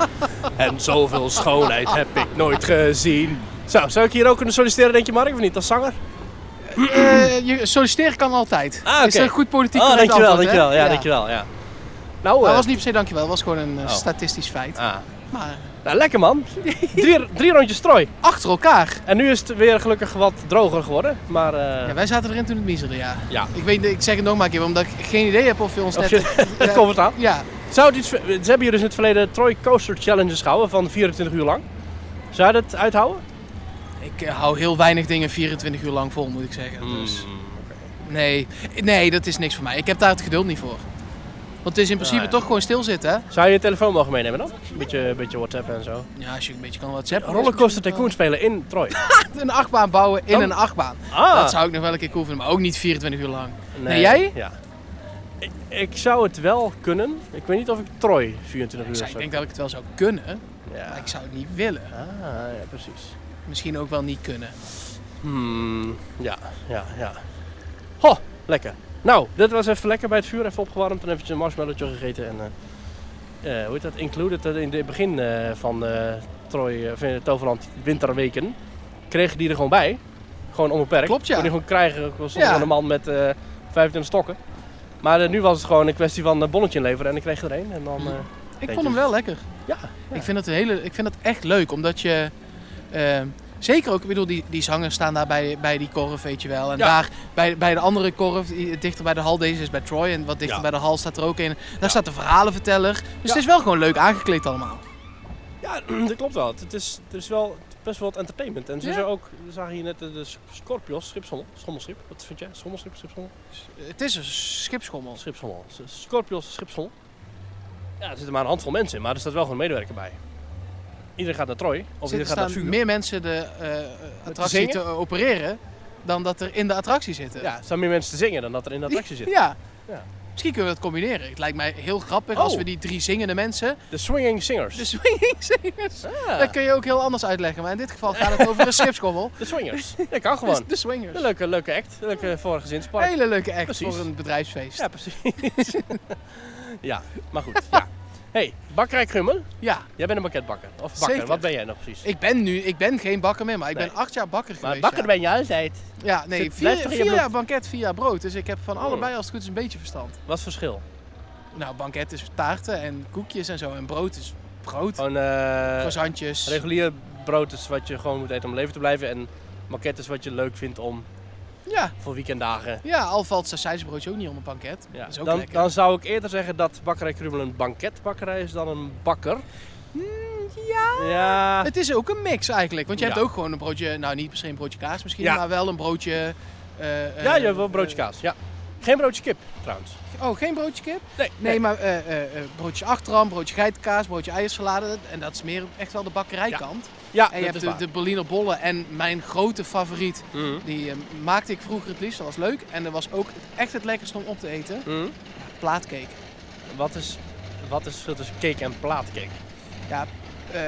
[SPEAKER 1] en zoveel schoonheid heb ik nooit gezien. Zo, zou ik hier ook kunnen solliciteren, denk je, Mark, of niet? Als zanger?
[SPEAKER 2] Eh, je solliciteren kan altijd.
[SPEAKER 1] Ah, oké.
[SPEAKER 2] Is een goed politiek
[SPEAKER 1] oh,
[SPEAKER 2] correct
[SPEAKER 1] dankjewel,
[SPEAKER 2] antwoord, hè?
[SPEAKER 1] dankjewel. Ja, dankjewel, ja. Nou,
[SPEAKER 2] Maar
[SPEAKER 1] eh,
[SPEAKER 2] was niet per se dankjewel, dat was gewoon een eh,
[SPEAKER 1] Oh.
[SPEAKER 2] statistisch feit.
[SPEAKER 1] ah.
[SPEAKER 2] Maar
[SPEAKER 1] Nou, lekker man. Drie, drie rondjes strooi.
[SPEAKER 2] Achter elkaar.
[SPEAKER 1] En nu is het weer gelukkig wat droger geworden. Maar eh,
[SPEAKER 2] Ja, wij zaten erin toen het miezerde, ja.
[SPEAKER 1] Ja.
[SPEAKER 2] Ik, weet, ik zeg het nog maar een keer, omdat ik geen idee heb of je ons
[SPEAKER 1] of
[SPEAKER 2] net...
[SPEAKER 1] je, het komt het aan.
[SPEAKER 2] Ja,
[SPEAKER 1] Zou het iets, ze hebben hier dus in het verleden Troy Coaster Challenges gehouden van 24 uur lang. Zou je dat uithouden?
[SPEAKER 2] ik eh, hou heel weinig dingen 24 uur lang vol, moet ik zeggen.
[SPEAKER 1] Mm,
[SPEAKER 2] Dus nee, nee, dat is niks voor mij. Ik heb daar het geduld niet voor. Want het is in principe
[SPEAKER 1] ja.
[SPEAKER 2] toch gewoon stilzitten, hè?
[SPEAKER 1] Zou je je telefoon mogen meenemen dan? Beetje, beetje WhatsApp en zo.
[SPEAKER 2] Ja, als je een beetje kan WhatsApp.
[SPEAKER 1] Rollercoaster Tycoon spelen in Troy.
[SPEAKER 2] Een achtbaan bouwen in
[SPEAKER 1] Dan-
[SPEAKER 2] een achtbaan.
[SPEAKER 1] Ah.
[SPEAKER 2] Dat zou ik nog wel een keer cool vinden, maar ook niet 24 uur lang. Nee, jij?
[SPEAKER 1] Ja. Ik, ik zou het wel kunnen. Ik weet niet of ik Troy 24
[SPEAKER 2] Ik,
[SPEAKER 1] uur
[SPEAKER 2] zei,
[SPEAKER 1] of
[SPEAKER 2] ik
[SPEAKER 1] zo-
[SPEAKER 2] denk dat ik het wel zou kunnen,
[SPEAKER 1] ja.
[SPEAKER 2] maar ik zou het niet willen.
[SPEAKER 1] Ah, ja, precies.
[SPEAKER 2] Misschien ook wel niet kunnen.
[SPEAKER 1] Hmm, ja, ja, ja. Ho, lekker. Nou, dit was even lekker bij het vuur, even opgewarmd en eventjes een marshmallowtje gegeten. En, eh, eh, hoe heet dat? Included dat in het begin eh, van eh Troy, eh, of, eh, Toverland Winterweken, kregen die er gewoon bij. Gewoon onbeperkt.
[SPEAKER 2] Klopt, ja.
[SPEAKER 1] Kon je gewoon krijgen, er stond
[SPEAKER 2] Ja.
[SPEAKER 1] gewoon een man met eh 25 stokken. Maar eh, nu was het gewoon een kwestie van een bonnetje inleveren en ik kreeg er één. En dan, eh,
[SPEAKER 2] Ik
[SPEAKER 1] je.
[SPEAKER 2] vond hem wel lekker.
[SPEAKER 1] ja, ja.
[SPEAKER 2] Ik, vind dat een hele, ik vind dat echt leuk, omdat je... eh, zeker ook, ik bedoel, die, die zangers staan daar bij, bij die korf, weet je wel. En
[SPEAKER 1] Ja.
[SPEAKER 2] daar, bij, bij de andere korf, die dichter bij de hal, deze is bij Troy. En wat dichter
[SPEAKER 1] Ja.
[SPEAKER 2] bij de hal staat er ook een. Daar staat de verhalenverteller. Dus het is wel gewoon leuk aangekleed allemaal.
[SPEAKER 1] Ja, dat klopt wel. Het is, er is wel best wel wat entertainment. En ze
[SPEAKER 2] Ja.
[SPEAKER 1] zijn ook, we zagen hier net de, de Scorpios, schipschommel, schommelschip. Wat vind jij? Schommelschip, schipschommel?
[SPEAKER 2] Het is een schipschommel.
[SPEAKER 1] Schipschommel. S- Scorpios, schipschommel. Ja, er zitten maar een handvol mensen in, maar er staat wel gewoon een medewerker bij. Iedereen gaat naar Troy, of
[SPEAKER 2] Er
[SPEAKER 1] iedereen gaat naar het
[SPEAKER 2] staan
[SPEAKER 1] vuur.
[SPEAKER 2] meer mensen de eh, attractie
[SPEAKER 1] zingen?
[SPEAKER 2] te opereren dan dat er in de attractie zitten.
[SPEAKER 1] Ja, er staan meer mensen te zingen dan dat er in de attractie zitten.
[SPEAKER 2] Ja.
[SPEAKER 1] Ja.
[SPEAKER 2] Misschien kunnen we dat combineren. Het lijkt mij heel grappig als
[SPEAKER 1] Oh.
[SPEAKER 2] we die drie zingende mensen,
[SPEAKER 1] De swinging singers.
[SPEAKER 2] de swingingzingers,
[SPEAKER 1] Ah,
[SPEAKER 2] dat kun je ook heel anders uitleggen. Maar in dit geval gaat het over een schipskommel.
[SPEAKER 1] de swingers. Dat kan
[SPEAKER 2] Dus
[SPEAKER 1] gewoon.
[SPEAKER 2] de swingers.
[SPEAKER 1] Een leuke, leuke act. Een leuke voor gezinspark.
[SPEAKER 2] Hele leuke act
[SPEAKER 1] Precies.
[SPEAKER 2] voor een bedrijfsfeest.
[SPEAKER 1] Ja, precies. ja, maar goed. Ja. hey, bakkerij Krummel.
[SPEAKER 2] Ja.
[SPEAKER 1] Jij bent een bakketbakker. Of bakker,
[SPEAKER 2] Zeker.
[SPEAKER 1] wat ben jij nou precies?
[SPEAKER 2] Ik ben nu, ik ben geen bakker meer, maar ik
[SPEAKER 1] Nee.
[SPEAKER 2] ben acht jaar bakker
[SPEAKER 1] maar
[SPEAKER 2] geweest.
[SPEAKER 1] bakker
[SPEAKER 2] ja.
[SPEAKER 1] ben je altijd.
[SPEAKER 2] Ja, nee,
[SPEAKER 1] Zit- blijft
[SPEAKER 2] vier,
[SPEAKER 1] er in je
[SPEAKER 2] vier
[SPEAKER 1] bloed?
[SPEAKER 2] jaar banket, vier jaar brood. Dus ik heb van
[SPEAKER 1] Oh.
[SPEAKER 2] allebei als het goed is een beetje verstand.
[SPEAKER 1] Wat is het verschil?
[SPEAKER 2] Nou, banket is taarten en koekjes en zo. En brood is brood.
[SPEAKER 1] Gewoon eh,
[SPEAKER 2] croissantjes.
[SPEAKER 1] regulier brood is wat je gewoon moet eten om leven te blijven. En maquette is wat je leuk vindt om
[SPEAKER 2] Ja,
[SPEAKER 1] voor weekenddagen.
[SPEAKER 2] ja, al valt sausijzenbroodje ook niet om een banket.
[SPEAKER 1] Ja.
[SPEAKER 2] Dat is ook
[SPEAKER 1] dan,
[SPEAKER 2] lekker.
[SPEAKER 1] dan zou ik eerder zeggen dat bakkerij Krummel een banketbakkerij is dan een bakker. ja. Ja.
[SPEAKER 2] Mm, Het is ook een mix eigenlijk. Want je
[SPEAKER 1] Ja.
[SPEAKER 2] hebt ook gewoon een broodje, nou niet per se een broodje kaas misschien,
[SPEAKER 1] Ja.
[SPEAKER 2] maar wel een broodje... eh,
[SPEAKER 1] ja,
[SPEAKER 2] eh,
[SPEAKER 1] je hebt wel een broodje
[SPEAKER 2] eh,
[SPEAKER 1] kaas. Ja. Geen broodje kip trouwens.
[SPEAKER 2] oh, geen broodje kip?
[SPEAKER 1] Nee,
[SPEAKER 2] Nee, maar eh eh, eh, broodje achterham, broodje geitenkaas, broodje eiersalade. En dat is meer echt wel de bakkerijkant.
[SPEAKER 1] Ja,
[SPEAKER 2] En je
[SPEAKER 1] dat is
[SPEAKER 2] hebt de,
[SPEAKER 1] waar.
[SPEAKER 2] de Berliner bollen en mijn grote favoriet,
[SPEAKER 1] Mhm.
[SPEAKER 2] die eh, maakte ik vroeger het liefst. Dat was leuk. En dat was ook echt het lekkerste om op te eten.
[SPEAKER 1] Mhm.
[SPEAKER 2] Plaatcake.
[SPEAKER 1] Wat is, wat is het verschil tussen cake en plaatcake?
[SPEAKER 2] Ja, eh,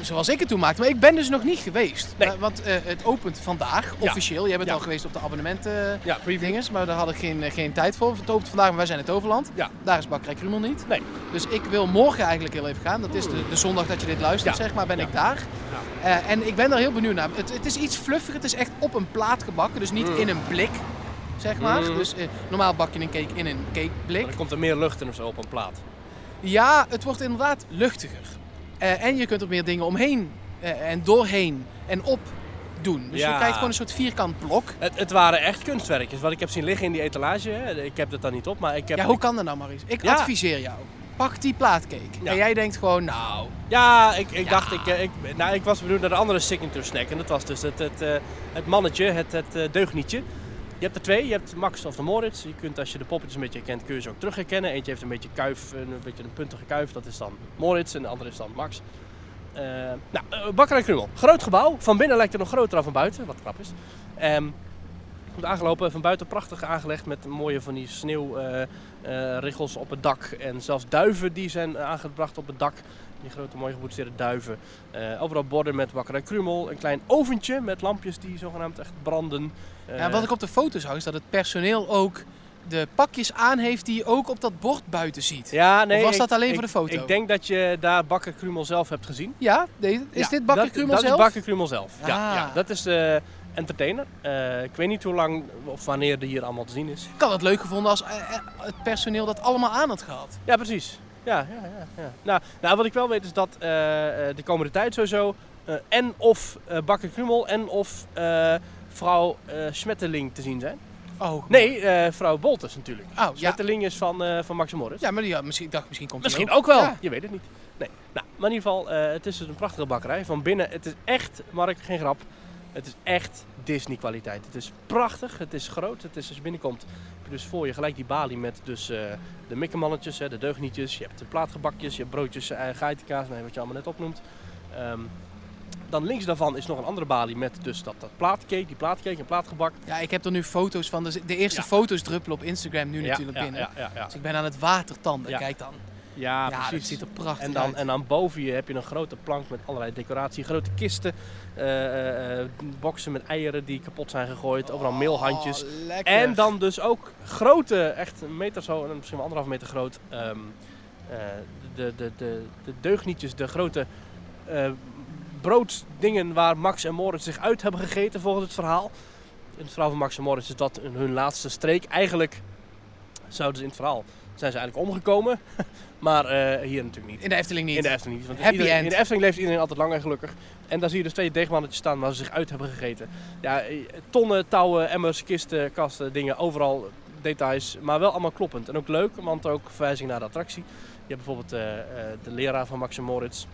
[SPEAKER 2] zoals ik het toen maakte. Maar ik ben dus nog niet geweest.
[SPEAKER 1] Nee.
[SPEAKER 2] Maar- want eh, het opent vandaag,
[SPEAKER 1] Ja.
[SPEAKER 2] officieel. Jij bent
[SPEAKER 1] Ja.
[SPEAKER 2] al geweest op de abonnementen
[SPEAKER 1] Ja, preview.
[SPEAKER 2] dinges, maar daar hadden we geen, eh, geen tijd voor. Het opent vandaag, maar wij zijn het Overland.
[SPEAKER 1] Ja.
[SPEAKER 2] Daar is Bakkerij Krumel niet.
[SPEAKER 1] Nee.
[SPEAKER 2] Dus ik wil morgen eigenlijk heel even gaan. Dat is de, de zondag dat je dit luistert,
[SPEAKER 1] Ja.
[SPEAKER 2] zeg maar, ben
[SPEAKER 1] Ja.
[SPEAKER 2] ik daar. Eh, en ik ben daar heel benieuwd naar. Het, het is iets fluffiger, het is echt op een plaat gebakken, dus niet in een blik, zeg maar.
[SPEAKER 1] Mm.
[SPEAKER 2] Dus eh, normaal bak je een cake in een cakeblik.
[SPEAKER 1] Maar dan komt er meer lucht in of zo op een plaat.
[SPEAKER 2] Ja, het wordt inderdaad luchtiger. Eh, en je kunt er meer dingen omheen eh, en doorheen en op doen. Dus
[SPEAKER 1] Ja.
[SPEAKER 2] je krijgt gewoon een soort vierkant blok.
[SPEAKER 1] Het, het waren echt kunstwerkjes. Wat ik heb zien liggen in die etalage. hè. Ik heb dat dan niet op, maar ik heb...
[SPEAKER 2] Ja, hoe kan dat nou, Maries? Ik
[SPEAKER 1] Ja.
[SPEAKER 2] adviseer jou. Pak die plaatcake.
[SPEAKER 1] Ja.
[SPEAKER 2] En jij denkt gewoon, nou,
[SPEAKER 1] Ja, ik, ik
[SPEAKER 2] Ja.
[SPEAKER 1] dacht, ik, eh, ik, nou, ik was benieuwd naar de andere signature snack. En dat was dus het, het, eh, het mannetje, het, het eh, deugnietje. Je hebt er twee. Je hebt Max of de Moritz. Je kunt als je de poppetjes een beetje kent, kun je ze ook terug herkennen. Eentje heeft een beetje kuif, een beetje een puntige kuif. Dat is dan Moritz en de andere is dan Max. Eh, nou, eh, Bakkerij Krummel. Groot gebouw. Van binnen lijkt het nog groter dan van buiten. Wat knap is. Ehm goed aangelopen. Van buiten prachtig aangelegd met mooie van die sneeuwriggels op het dak. En zelfs duiven die zijn eh, aangebracht op het dak. Die grote mooi geboetseerde duiven. Eh, overal borden met bakkerij Krumel. Een klein oventje met lampjes die zogenaamd echt branden. Eh,
[SPEAKER 2] Ja, wat ik op de foto zag is dat het personeel ook de pakjes aan heeft die je ook op dat bord buiten ziet. Ja,
[SPEAKER 1] Ja, nee,
[SPEAKER 2] Of was
[SPEAKER 1] ik-
[SPEAKER 2] dat alleen
[SPEAKER 1] ik-
[SPEAKER 2] voor de foto?
[SPEAKER 1] Ik denk dat je daar bakker Krumel zelf hebt gezien.
[SPEAKER 2] nee, is
[SPEAKER 1] Ja,
[SPEAKER 2] dit Bakker
[SPEAKER 1] dat-
[SPEAKER 2] Krumel
[SPEAKER 1] dat
[SPEAKER 2] zelf?
[SPEAKER 1] is Bakker Krumel zelf. Ja,
[SPEAKER 2] Ah.
[SPEAKER 1] ja, dat is de entertainer. Eh, ik weet niet hoe lang of wanneer die hier allemaal te zien is.
[SPEAKER 2] Ik had het leuk gevonden als eh, eh, het personeel dat allemaal aan had gehad.
[SPEAKER 1] Ja, precies. Ja, ja, ja. ja. Nou, nou, wat ik wel weet is dat eh, eh, de komende tijd sowieso eh, en of eh Bakker Krummel en of eh, vrouw eh Smetterling te zien zijn.
[SPEAKER 2] Oh,
[SPEAKER 1] Nee, eh, vrouw Bolters natuurlijk.
[SPEAKER 2] Oh, ja.
[SPEAKER 1] Smetterling is van, eh van Max Morris.
[SPEAKER 2] Ja, maar die, ja, misschien, ik dacht, misschien komt die
[SPEAKER 1] Misschien ook wel.
[SPEAKER 2] Ja.
[SPEAKER 1] Je weet het niet. Nee. Nou, maar in ieder geval, eh, het is dus een prachtige bakkerij. Van binnen, het is echt, Mark, geen grap. Het is echt Disney kwaliteit. Het is prachtig, het is groot. Het is als je binnenkomt, heb je dus voor je gelijk die balie met dus eh, de mikkermannetjes, hè, de deugnietjes. Je hebt de plaatgebakjes, je hebt broodjes, eh, geitenkaas, nee, wat je allemaal net opnoemt. Ehm, dan links daarvan is nog een andere balie met dus dat, dat plaatcake, die plaatcake en plaatgebak.
[SPEAKER 2] Ja, ik heb er nu foto's van. Dus de eerste
[SPEAKER 1] Ja.
[SPEAKER 2] foto's druppelen op Instagram nu natuurlijk
[SPEAKER 1] ja,
[SPEAKER 2] binnen.
[SPEAKER 1] Ja, ja, ja.
[SPEAKER 2] Dus ik ben aan het watertanden.
[SPEAKER 1] Ja.
[SPEAKER 2] Kijk dan.
[SPEAKER 1] ja,
[SPEAKER 2] ja,
[SPEAKER 1] precies.
[SPEAKER 2] dit ziet er prachtig
[SPEAKER 1] En dan,
[SPEAKER 2] uit.
[SPEAKER 1] en dan boven je heb je een grote plank met allerlei decoratie. Grote kisten, eh, eh, boksen met eieren die kapot zijn gegooid. Overal meelhandjes.
[SPEAKER 2] Oh, lekker.
[SPEAKER 1] en dan dus ook grote, echt een meter zo, en misschien wel anderhalf meter groot. ehm, eh, de, de, de, de deugnietjes, de grote eh, brooddingen waar Max en Moritz zich uit hebben gegeten volgens het verhaal. In het verhaal van Max en Moritz is dat hun laatste streek. Eigenlijk zouden ze in het verhaal, zijn ze eigenlijk omgekomen. maar eh, hier natuurlijk niet.
[SPEAKER 2] In de Efteling niet.
[SPEAKER 1] In de Efteling niet. Want
[SPEAKER 2] Happy
[SPEAKER 1] iedereen-
[SPEAKER 2] end.
[SPEAKER 1] In de Efteling leeft iedereen altijd lang en gelukkig. En daar zie je dus twee deegmannetjes staan waar ze zich uit hebben gegeten. Ja, eh, tonnen, touwen, emmers, kisten, kasten, dingen. Overal details. Maar wel allemaal kloppend. En ook leuk, want ook verwijzing naar de attractie. Je hebt bijvoorbeeld eh, eh, de leraar van Max en Moritz.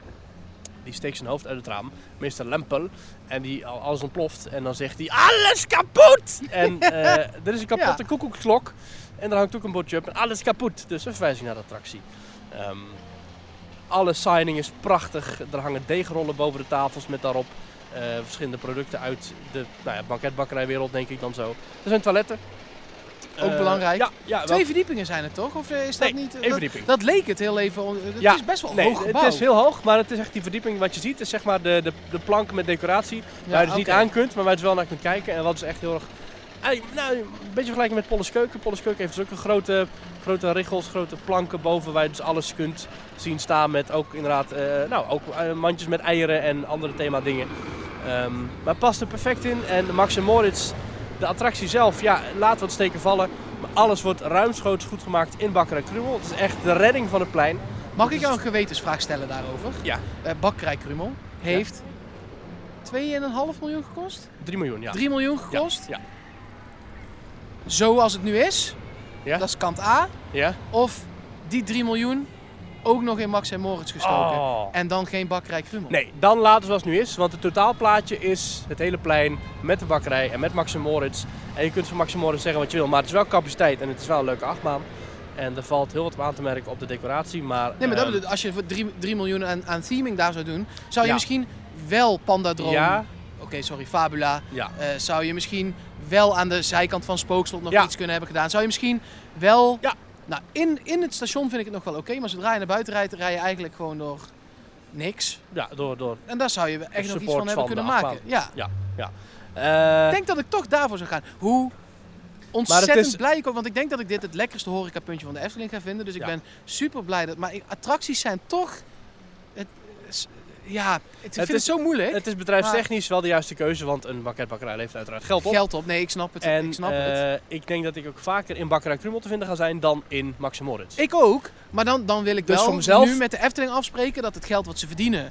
[SPEAKER 1] Die steekt zijn hoofd uit het raam. Meester Lempel. En die al- alles ontploft. En dan zegt hij, alles kapot! En eh, er is een kapotte koekoeksklok. En daar hangt ook een bordje op. En alles kapot. Dus een verwijzing naar de attractie. Ehm, alle signing is prachtig. Er hangen deegrollen boven de tafels met daarop eh, verschillende producten uit de nou ja, banketbakkerijwereld, denk ik dan zo. Er zijn toiletten.
[SPEAKER 2] Ook
[SPEAKER 1] Eh,
[SPEAKER 2] belangrijk.
[SPEAKER 1] Ja, ja wel-
[SPEAKER 2] Twee verdiepingen zijn het toch? Of eh, is dat
[SPEAKER 1] Nee,
[SPEAKER 2] niet?
[SPEAKER 1] één
[SPEAKER 2] dat-
[SPEAKER 1] verdieping.
[SPEAKER 2] Dat, leek het heel even. on- Het
[SPEAKER 1] Ja,
[SPEAKER 2] is best wel een
[SPEAKER 1] nee,
[SPEAKER 2] hoog gebouw.
[SPEAKER 1] Het is heel hoog, maar het is echt die verdieping wat je ziet. is zeg maar de, de, de plank met decoratie. waar je dus niet
[SPEAKER 2] oké.
[SPEAKER 1] aan kunt, maar waar je dus wel naar kunt kijken. En wat is echt heel erg... eigenlijk, Nou, een beetje vergelijken met Polleskeuken. Polleskeuken heeft dus ook een grote, grote richels, grote planken boven waar je dus alles kunt zien staan. Met ook inderdaad, eh, nou, ook eh, mandjes met eieren en andere thema dingen. Ehm, maar past er perfect in. En Max en Moritz, de attractie zelf, ja, laat wat steken vallen. Maar alles wordt ruimschoots goed gemaakt in Bakker en Krummel. Het is echt de redding van het plein.
[SPEAKER 2] Mag ik jou een gewetensvraag stellen daarover?
[SPEAKER 1] Ja.
[SPEAKER 2] Eh, Bakkerij Krummel heeft 2,5 miljoen gekost?
[SPEAKER 1] 3 miljoen, ja.
[SPEAKER 2] 3 miljoen
[SPEAKER 1] Ja,
[SPEAKER 2] gekost?
[SPEAKER 1] Ja.
[SPEAKER 2] Zoals het nu is?
[SPEAKER 1] Ja.
[SPEAKER 2] Dat is kant A.
[SPEAKER 1] Ja?
[SPEAKER 2] Of die 3 miljoen ook nog in Max en Moritz gestoken.
[SPEAKER 1] Oh.
[SPEAKER 2] En dan geen bakkerij Krummel.
[SPEAKER 1] Nee, dan laten we zoals het nu is. Want het totaalplaatje is het hele plein met de bakkerij en met Max en Moritz. En je kunt van Max en Moritz zeggen wat je wil, maar het is wel capaciteit en het is wel een leuke achtbaan. En er valt heel wat op aan te merken op de decoratie, maar...
[SPEAKER 2] Nee, maar dat
[SPEAKER 1] ehm,
[SPEAKER 2] bedoelt, als je voor 3, miljoen aan, aan theming daar zou doen, zou je
[SPEAKER 1] Ja.
[SPEAKER 2] misschien wel Pandadroom,
[SPEAKER 1] Ja.
[SPEAKER 2] oké, sorry, Fabula,
[SPEAKER 1] Ja.
[SPEAKER 2] eh, zou je misschien wel aan de zijkant van Spookslot nog
[SPEAKER 1] Ja.
[SPEAKER 2] iets kunnen hebben gedaan. Zou je misschien wel,
[SPEAKER 1] Ja.
[SPEAKER 2] nou, in, in het station vind ik het nog wel oké, maar zodra je naar buiten rijdt, rij je eigenlijk gewoon door niks.
[SPEAKER 1] Ja, door... door
[SPEAKER 2] En daar zou je echt nog iets
[SPEAKER 1] support
[SPEAKER 2] van hebben
[SPEAKER 1] van
[SPEAKER 2] kunnen
[SPEAKER 1] de
[SPEAKER 2] maken.
[SPEAKER 1] achtbaan.
[SPEAKER 2] Ja.
[SPEAKER 1] ja, ja.
[SPEAKER 2] Ik
[SPEAKER 1] Eh,
[SPEAKER 2] denk dat ik toch daarvoor zou gaan. Hoe ontzettend
[SPEAKER 1] is-
[SPEAKER 2] blij ik ook, want ik denk dat ik dit het lekkerste horecapuntje van de Efteling ga vinden. Dus ik
[SPEAKER 1] Ja.
[SPEAKER 2] ben super blij dat. Maar ik- attracties zijn toch. Het, is- ja, het, ik vind
[SPEAKER 1] is-
[SPEAKER 2] het zo moeilijk.
[SPEAKER 1] het is bedrijfstechnisch wel de juiste keuze, want een bakketbakkerij levert uiteraard geld op.
[SPEAKER 2] Geld op, nee, ik snap het.
[SPEAKER 1] En
[SPEAKER 2] ik snap het.
[SPEAKER 1] eh, ik denk dat ik ook vaker in Bakkerij Krummel te vinden ga zijn dan in Max en Moritz.
[SPEAKER 2] Ik ook, maar dan, dan wil ik
[SPEAKER 1] Dus
[SPEAKER 2] wel
[SPEAKER 1] voor mezelf-
[SPEAKER 2] nu met de Efteling afspreken dat het geld wat ze verdienen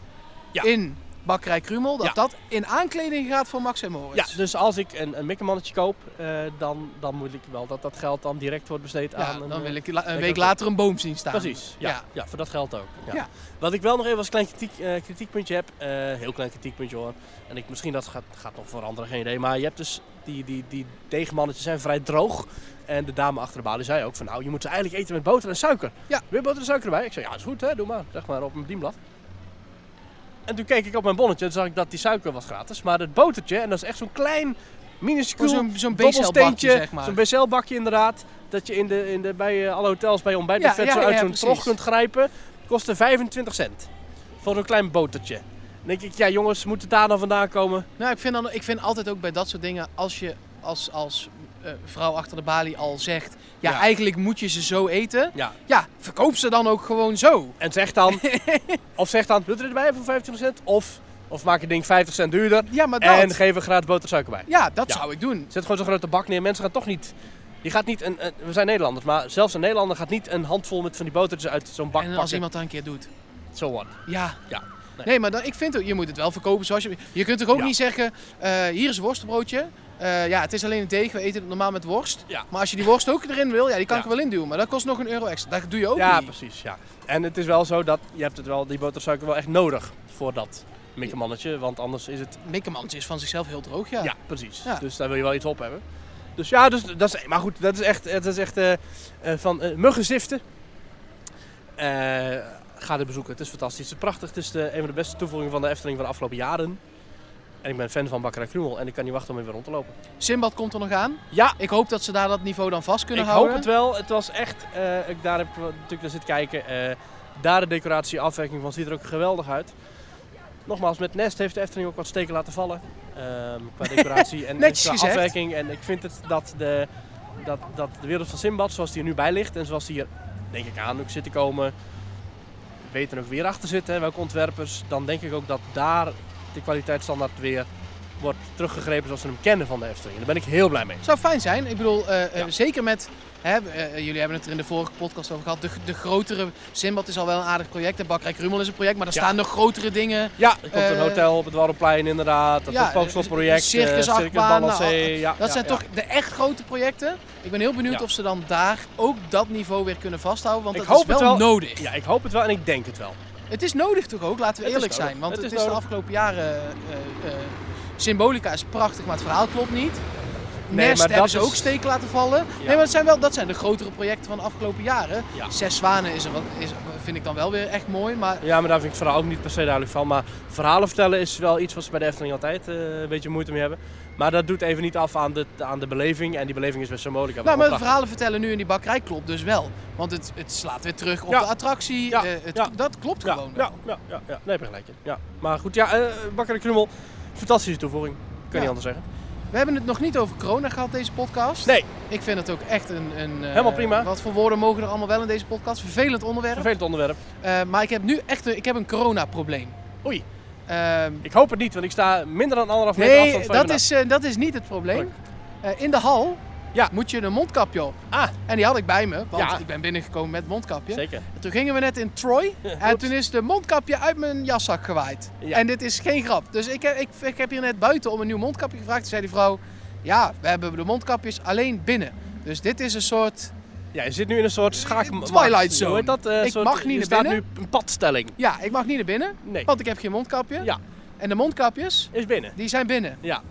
[SPEAKER 1] Ja.
[SPEAKER 2] in Bakkerij Krumel, dat
[SPEAKER 1] Ja.
[SPEAKER 2] dat in aankleding gaat voor Max en Moritz.
[SPEAKER 1] Ja, dus als ik een, een mikkermannetje koop, eh, dan, dan moet ik wel dat dat geld dan direct wordt besteed
[SPEAKER 2] Ja,
[SPEAKER 1] aan... een,
[SPEAKER 2] dan
[SPEAKER 1] eh,
[SPEAKER 2] wil ik la- een
[SPEAKER 1] ik
[SPEAKER 2] week
[SPEAKER 1] ook.
[SPEAKER 2] later een boom zien staan.
[SPEAKER 1] Precies, ja, ja.
[SPEAKER 2] Ja.
[SPEAKER 1] voor dat geld ook. Ja.
[SPEAKER 2] Ja.
[SPEAKER 1] Wat ik wel nog even als klein kritiek, eh, kritiekpuntje heb, eh, heel klein kritiekpuntje hoor. En ik, misschien dat gaat, gaat nog veranderen, geen idee. Maar je hebt dus, die, die, die deegmannetjes zijn vrij droog. En de dame achter de balie zei ook van, nou je moet ze eigenlijk eten met boter en suiker.
[SPEAKER 2] Ja.
[SPEAKER 1] Weer boter en suiker erbij? Ik zei, ja is goed hè, doe maar. Zeg maar op mijn dienblad. En toen keek ik op mijn bonnetje en zag ik dat die suiker was gratis. Maar het botertje, en dat is echt zo'n klein, minuscuul
[SPEAKER 2] Zo'n zo'n
[SPEAKER 1] dobbelsteentje,
[SPEAKER 2] BCL-bakje, zeg maar.
[SPEAKER 1] Zo'n bestelbakje inderdaad. Dat je in de, in de, bij eh, alle hotels bij je ontbijt
[SPEAKER 2] Ja,
[SPEAKER 1] buffet
[SPEAKER 2] ja,
[SPEAKER 1] zo
[SPEAKER 2] ja,
[SPEAKER 1] uit
[SPEAKER 2] ja,
[SPEAKER 1] zo'n
[SPEAKER 2] precies.
[SPEAKER 1] trog kunt grijpen. Kostte 25 cent. Voor zo'n klein botertje. Dan denk ik, ja jongens, moet het daar dan vandaan komen?
[SPEAKER 2] Nou, ik vind, dan, ik vind altijd ook bij dat soort dingen, als je als, als eh, vrouw achter de balie al zegt, ja,
[SPEAKER 1] Ja.
[SPEAKER 2] eigenlijk moet je ze zo eten.
[SPEAKER 1] Ja.
[SPEAKER 2] Ja, verkoop ze dan ook gewoon zo.
[SPEAKER 1] En zeg dan, of zeg dan, doe het erbij voor 25 cent. Of, of maak het ding 50 cent duurder.
[SPEAKER 2] Ja, maar dat.
[SPEAKER 1] En geef er gratis boter en suiker bij.
[SPEAKER 2] ja, dat
[SPEAKER 1] Ja.
[SPEAKER 2] zou ik doen.
[SPEAKER 1] Zet gewoon zo'n grote bak neer. Mensen gaan toch niet Je gaat niet een, een- we zijn Nederlanders, maar zelfs een Nederlander gaat niet een handvol met van die botertjes uit zo'n bak
[SPEAKER 2] En
[SPEAKER 1] pakken.
[SPEAKER 2] als iemand dat een keer doet.
[SPEAKER 1] So what?
[SPEAKER 2] Ja.
[SPEAKER 1] Ja. Nee.
[SPEAKER 2] Nee, maar dan, ik vind ook, je moet het wel verkopen zoals je... Je kunt toch ook
[SPEAKER 1] Ja.
[SPEAKER 2] niet zeggen, eh, hier is een worstenbroodje. Eh, ja, het is alleen een deeg, we eten het normaal met worst.
[SPEAKER 1] Ja.
[SPEAKER 2] Maar als je die worst ook erin wil, ja, die kan
[SPEAKER 1] Ja.
[SPEAKER 2] ik er wel in duwen. Maar dat kost nog een euro extra. Dat doe je ook
[SPEAKER 1] ja,
[SPEAKER 2] niet.
[SPEAKER 1] precies. Ja. En het is wel zo dat je hebt het wel, die botersuiker wel echt nodig voor dat mikkemannetje, want anders is het...
[SPEAKER 2] Mikkemannetje is van zichzelf heel droog, ja.
[SPEAKER 1] Ja, precies.
[SPEAKER 2] Ja.
[SPEAKER 1] Dus daar wil je wel iets op hebben. Dus ja, dus, dat is, maar goed, dat is echt, dat is echt eh, eh, van eh muggenziften. Eh, ga dit bezoeken, het is fantastisch, het is prachtig. Het is de, een van de beste toevoegingen van de Efteling van de afgelopen jaren. En ik ben fan van Bakkerij Krummel en ik kan niet wachten om weer rond te lopen.
[SPEAKER 2] Simbad komt er nog aan.
[SPEAKER 1] Ja,
[SPEAKER 2] Ik hoop dat ze daar dat niveau dan vast kunnen
[SPEAKER 1] ik
[SPEAKER 2] houden.
[SPEAKER 1] hoop het wel. Het was echt, eh, ik daar heb ik natuurlijk naar zitten kijken. eh, daar de decoratie, afwerking van ziet er ook geweldig uit. Nogmaals, met Nest heeft de Efteling ook wat steken laten vallen. ehm, qua decoratie en
[SPEAKER 2] Netjes
[SPEAKER 1] qua
[SPEAKER 2] gezegd.
[SPEAKER 1] afwerking. En ik vind het dat de, dat, dat de wereld van Simbad, zoals die er nu bij ligt en zoals die er, denk ik, aan ook zit te komen, weten ook weer achter zitten, hè, welke ontwerpers, dan denk ik ook dat daar de kwaliteitsstandaard weer wordt teruggegrepen zoals we hem kennen van de Efteling. En daar ben ik heel blij mee.
[SPEAKER 2] Zou fijn zijn. Ik bedoel, eh, eh,
[SPEAKER 1] Ja.
[SPEAKER 2] zeker met. Hè, eh, jullie hebben het er in de vorige podcast over gehad. De, de grotere. Simbad is al wel een aardig project. En Bakrijk Rummel is een project. Maar er
[SPEAKER 1] Ja.
[SPEAKER 2] staan nog grotere dingen.
[SPEAKER 1] Ja, er komt een
[SPEAKER 2] Eh,
[SPEAKER 1] hotel op het Warrenplein inderdaad. Dat
[SPEAKER 2] ja, eh,
[SPEAKER 1] ja, is een project. eh,
[SPEAKER 2] circus, achtbaan, nou,
[SPEAKER 1] ja,
[SPEAKER 2] Dat
[SPEAKER 1] ja,
[SPEAKER 2] zijn
[SPEAKER 1] ja.
[SPEAKER 2] toch de echt grote projecten. Ik ben heel benieuwd
[SPEAKER 1] Ja.
[SPEAKER 2] of ze dan daar ook dat niveau weer kunnen vasthouden. Want
[SPEAKER 1] Ik
[SPEAKER 2] dat
[SPEAKER 1] hoop
[SPEAKER 2] is
[SPEAKER 1] het
[SPEAKER 2] wel,
[SPEAKER 1] wel.
[SPEAKER 2] nodig.
[SPEAKER 1] Ja, ik hoop het wel en ik denk het wel.
[SPEAKER 2] Het is nodig toch ook, laten
[SPEAKER 1] Het
[SPEAKER 2] we
[SPEAKER 1] is
[SPEAKER 2] eerlijk zijn.
[SPEAKER 1] nodig.
[SPEAKER 2] Want
[SPEAKER 1] Het
[SPEAKER 2] het,
[SPEAKER 1] is
[SPEAKER 2] is de
[SPEAKER 1] nodig.
[SPEAKER 2] afgelopen jaren. eh, eh, symbolica is prachtig, maar het verhaal klopt niet.
[SPEAKER 1] Nee,
[SPEAKER 2] Nest
[SPEAKER 1] maar
[SPEAKER 2] hebben
[SPEAKER 1] dat
[SPEAKER 2] ze
[SPEAKER 1] is-
[SPEAKER 2] ook steek laten vallen. Nee, maar het zijn wel, dat zijn de grotere projecten van de afgelopen jaren.
[SPEAKER 1] Ja.
[SPEAKER 2] Zes Zwanen is, er wat- is, vind ik dan wel weer echt mooi. Maar Nou,
[SPEAKER 1] Ja, maar daar vind ik het verhaal ook niet per se duidelijk van. Maar verhalen vertellen is wel iets wat ze bij de Efteling altijd eh, een beetje moeite mee hebben. Maar dat doet even niet af aan de, aan de beleving. En die beleving is best zo mogelijk.
[SPEAKER 2] Nou, maar de verhalen vertellen nu in die bakkerij klopt dus wel. Want het, het slaat weer terug op
[SPEAKER 1] Ja.
[SPEAKER 2] de attractie.
[SPEAKER 1] Ja.
[SPEAKER 2] Eh, het-
[SPEAKER 1] Ja.
[SPEAKER 2] Dat klopt
[SPEAKER 1] ja,
[SPEAKER 2] gewoon.
[SPEAKER 1] ja, ja, ja, ja. Nee, heb je gelijk. in. Ja. Maar goed, ja, eh Bakker de Krummel, fantastische toevoeging. Kan
[SPEAKER 2] Ja.
[SPEAKER 1] niet anders zeggen.
[SPEAKER 2] We hebben het nog niet over corona gehad, deze podcast.
[SPEAKER 1] Nee,
[SPEAKER 2] Ik vind het ook echt een... een eh,
[SPEAKER 1] Helemaal prima.
[SPEAKER 2] Wat voor woorden mogen er allemaal wel in deze podcast? Vervelend onderwerp.
[SPEAKER 1] vervelend onderwerp.
[SPEAKER 2] Eh, maar ik heb nu echt een, ik heb een corona-probleem.
[SPEAKER 1] Oei.
[SPEAKER 2] Ehm,
[SPEAKER 1] Ik hoop het niet, want ik sta minder dan anderhalf meter afstand
[SPEAKER 2] nee,
[SPEAKER 1] van
[SPEAKER 2] dat
[SPEAKER 1] je
[SPEAKER 2] is, eh, dat is niet het probleem. Eh, in de hal
[SPEAKER 1] Ja.
[SPEAKER 2] moet je een mondkapje op.
[SPEAKER 1] Ah.
[SPEAKER 2] En die had ik bij me, want
[SPEAKER 1] Ja.
[SPEAKER 2] ik ben binnengekomen met mondkapje.
[SPEAKER 1] Zeker.
[SPEAKER 2] En Toen gingen we net in Troy en
[SPEAKER 1] klopt.
[SPEAKER 2] toen is de mondkapje uit mijn jaszak gewaaid.
[SPEAKER 1] Ja.
[SPEAKER 2] En dit is geen grap. Dus ik heb, ik, ik heb hier net buiten om een nieuw mondkapje gevraagd. Toen zei die vrouw, ja, we hebben de mondkapjes alleen binnen. Dus dit is een soort...
[SPEAKER 1] Ja, je zit nu in een soort schaak...
[SPEAKER 2] Twilight Zone.
[SPEAKER 1] Hoe heet dat? Eh,
[SPEAKER 2] Ik
[SPEAKER 1] soort-
[SPEAKER 2] mag niet
[SPEAKER 1] Je
[SPEAKER 2] naar
[SPEAKER 1] staat nu
[SPEAKER 2] binnen.
[SPEAKER 1] een padstelling.
[SPEAKER 2] Ja, ik mag niet naar binnen,
[SPEAKER 1] Nee.
[SPEAKER 2] want ik heb geen mondkapje.
[SPEAKER 1] Ja,
[SPEAKER 2] En de mondkapjes,
[SPEAKER 1] is binnen.
[SPEAKER 2] die zijn binnen.
[SPEAKER 1] Ja.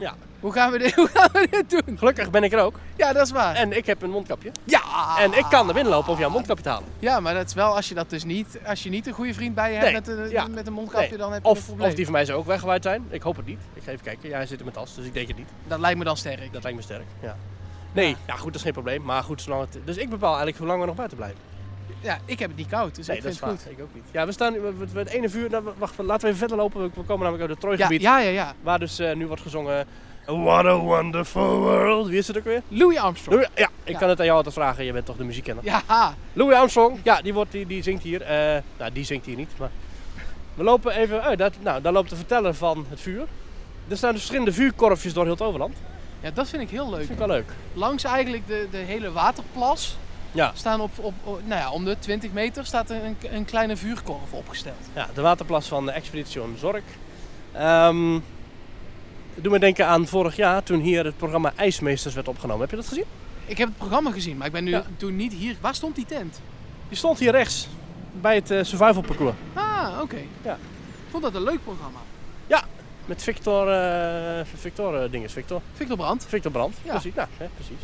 [SPEAKER 1] ja.
[SPEAKER 2] Hoe gaan we dit, hoe gaan we dit doen?
[SPEAKER 1] Gelukkig ben ik er ook.
[SPEAKER 2] Ja, dat is waar.
[SPEAKER 1] En ik heb een mondkapje.
[SPEAKER 2] ja!
[SPEAKER 1] En ik kan naar binnen lopen of jouw mondkapje te halen.
[SPEAKER 2] Ja, maar dat is wel als je dat dus niet, als je niet een goede vriend bij je
[SPEAKER 1] Nee,
[SPEAKER 2] hebt met, een,
[SPEAKER 1] ja.
[SPEAKER 2] met een mondkapje,
[SPEAKER 1] Nee.
[SPEAKER 2] dan heb je een
[SPEAKER 1] Of,
[SPEAKER 2] probleem.
[SPEAKER 1] of die van mij zou ook weggewaaid zijn. Ik hoop het niet. Ik ga even kijken. Ja, hij zit in mijn tas, dus ik denk het niet.
[SPEAKER 2] Dat lijkt me dan sterk.
[SPEAKER 1] Dat lijkt me sterk. Ja. Nee, ja. goed, dat is geen probleem. Maar goed, zolang het... Dus ik bepaal eigenlijk hoe lang we nog buiten blijven.
[SPEAKER 2] Ja, ik heb het niet koud, dus
[SPEAKER 1] Nee,
[SPEAKER 2] ik
[SPEAKER 1] dat
[SPEAKER 2] vind
[SPEAKER 1] is
[SPEAKER 2] het
[SPEAKER 1] waar.
[SPEAKER 2] goed.
[SPEAKER 1] Ik ook niet. Ja, we staan nu... We, we, we- het ene vuur... nou, wacht, laten we even verder lopen. We- We komen namelijk uit het
[SPEAKER 2] Ja,
[SPEAKER 1] Trooigebied.
[SPEAKER 2] ja, ja, ja.
[SPEAKER 1] Waar dus eh, nu wordt gezongen... What a wonderful world. Wie is het ook weer?
[SPEAKER 2] Louis Armstrong.
[SPEAKER 1] Louis- ja, ik
[SPEAKER 2] Ja.
[SPEAKER 1] kan het aan jou altijd vragen. Je bent toch de muziekkenner.
[SPEAKER 2] Ja,
[SPEAKER 1] Louis Armstrong, ja, die, wordt, die, die zingt hier. eh, nou, die zingt hier niet, maar... We lopen even... uit. dat, nou, daar loopt de verteller van het vuur. Er staan dus verschillende vuurkorfjes door heel het overland. Dat
[SPEAKER 2] ja, dat vind ik heel leuk.
[SPEAKER 1] vind ik wel leuk.
[SPEAKER 2] Langs eigenlijk de, de hele waterplas
[SPEAKER 1] Ja.
[SPEAKER 2] staan op, op, op- nou ja, om de 20 meter staat een, een kleine vuurkorf opgesteld.
[SPEAKER 1] Ja, de waterplas van de Expedition Zork. Ehm het doet me denken aan vorig jaar toen hier het programma IJsmeesters werd opgenomen. Heb je dat gezien?
[SPEAKER 2] Ik heb het programma gezien, maar ik ben nu
[SPEAKER 1] Ja.
[SPEAKER 2] toen niet hier. Waar stond die tent?
[SPEAKER 1] Die stond hier rechts bij het eh, survival parcours.
[SPEAKER 2] Ah, oké.
[SPEAKER 1] Ja.
[SPEAKER 2] Ik vond dat een leuk programma.
[SPEAKER 1] Met Victor, eh Victor eh, dinges, Victor.
[SPEAKER 2] Victor Brandt,
[SPEAKER 1] Victor Brand.
[SPEAKER 2] Ja.
[SPEAKER 1] Precies. Nou, hè, precies.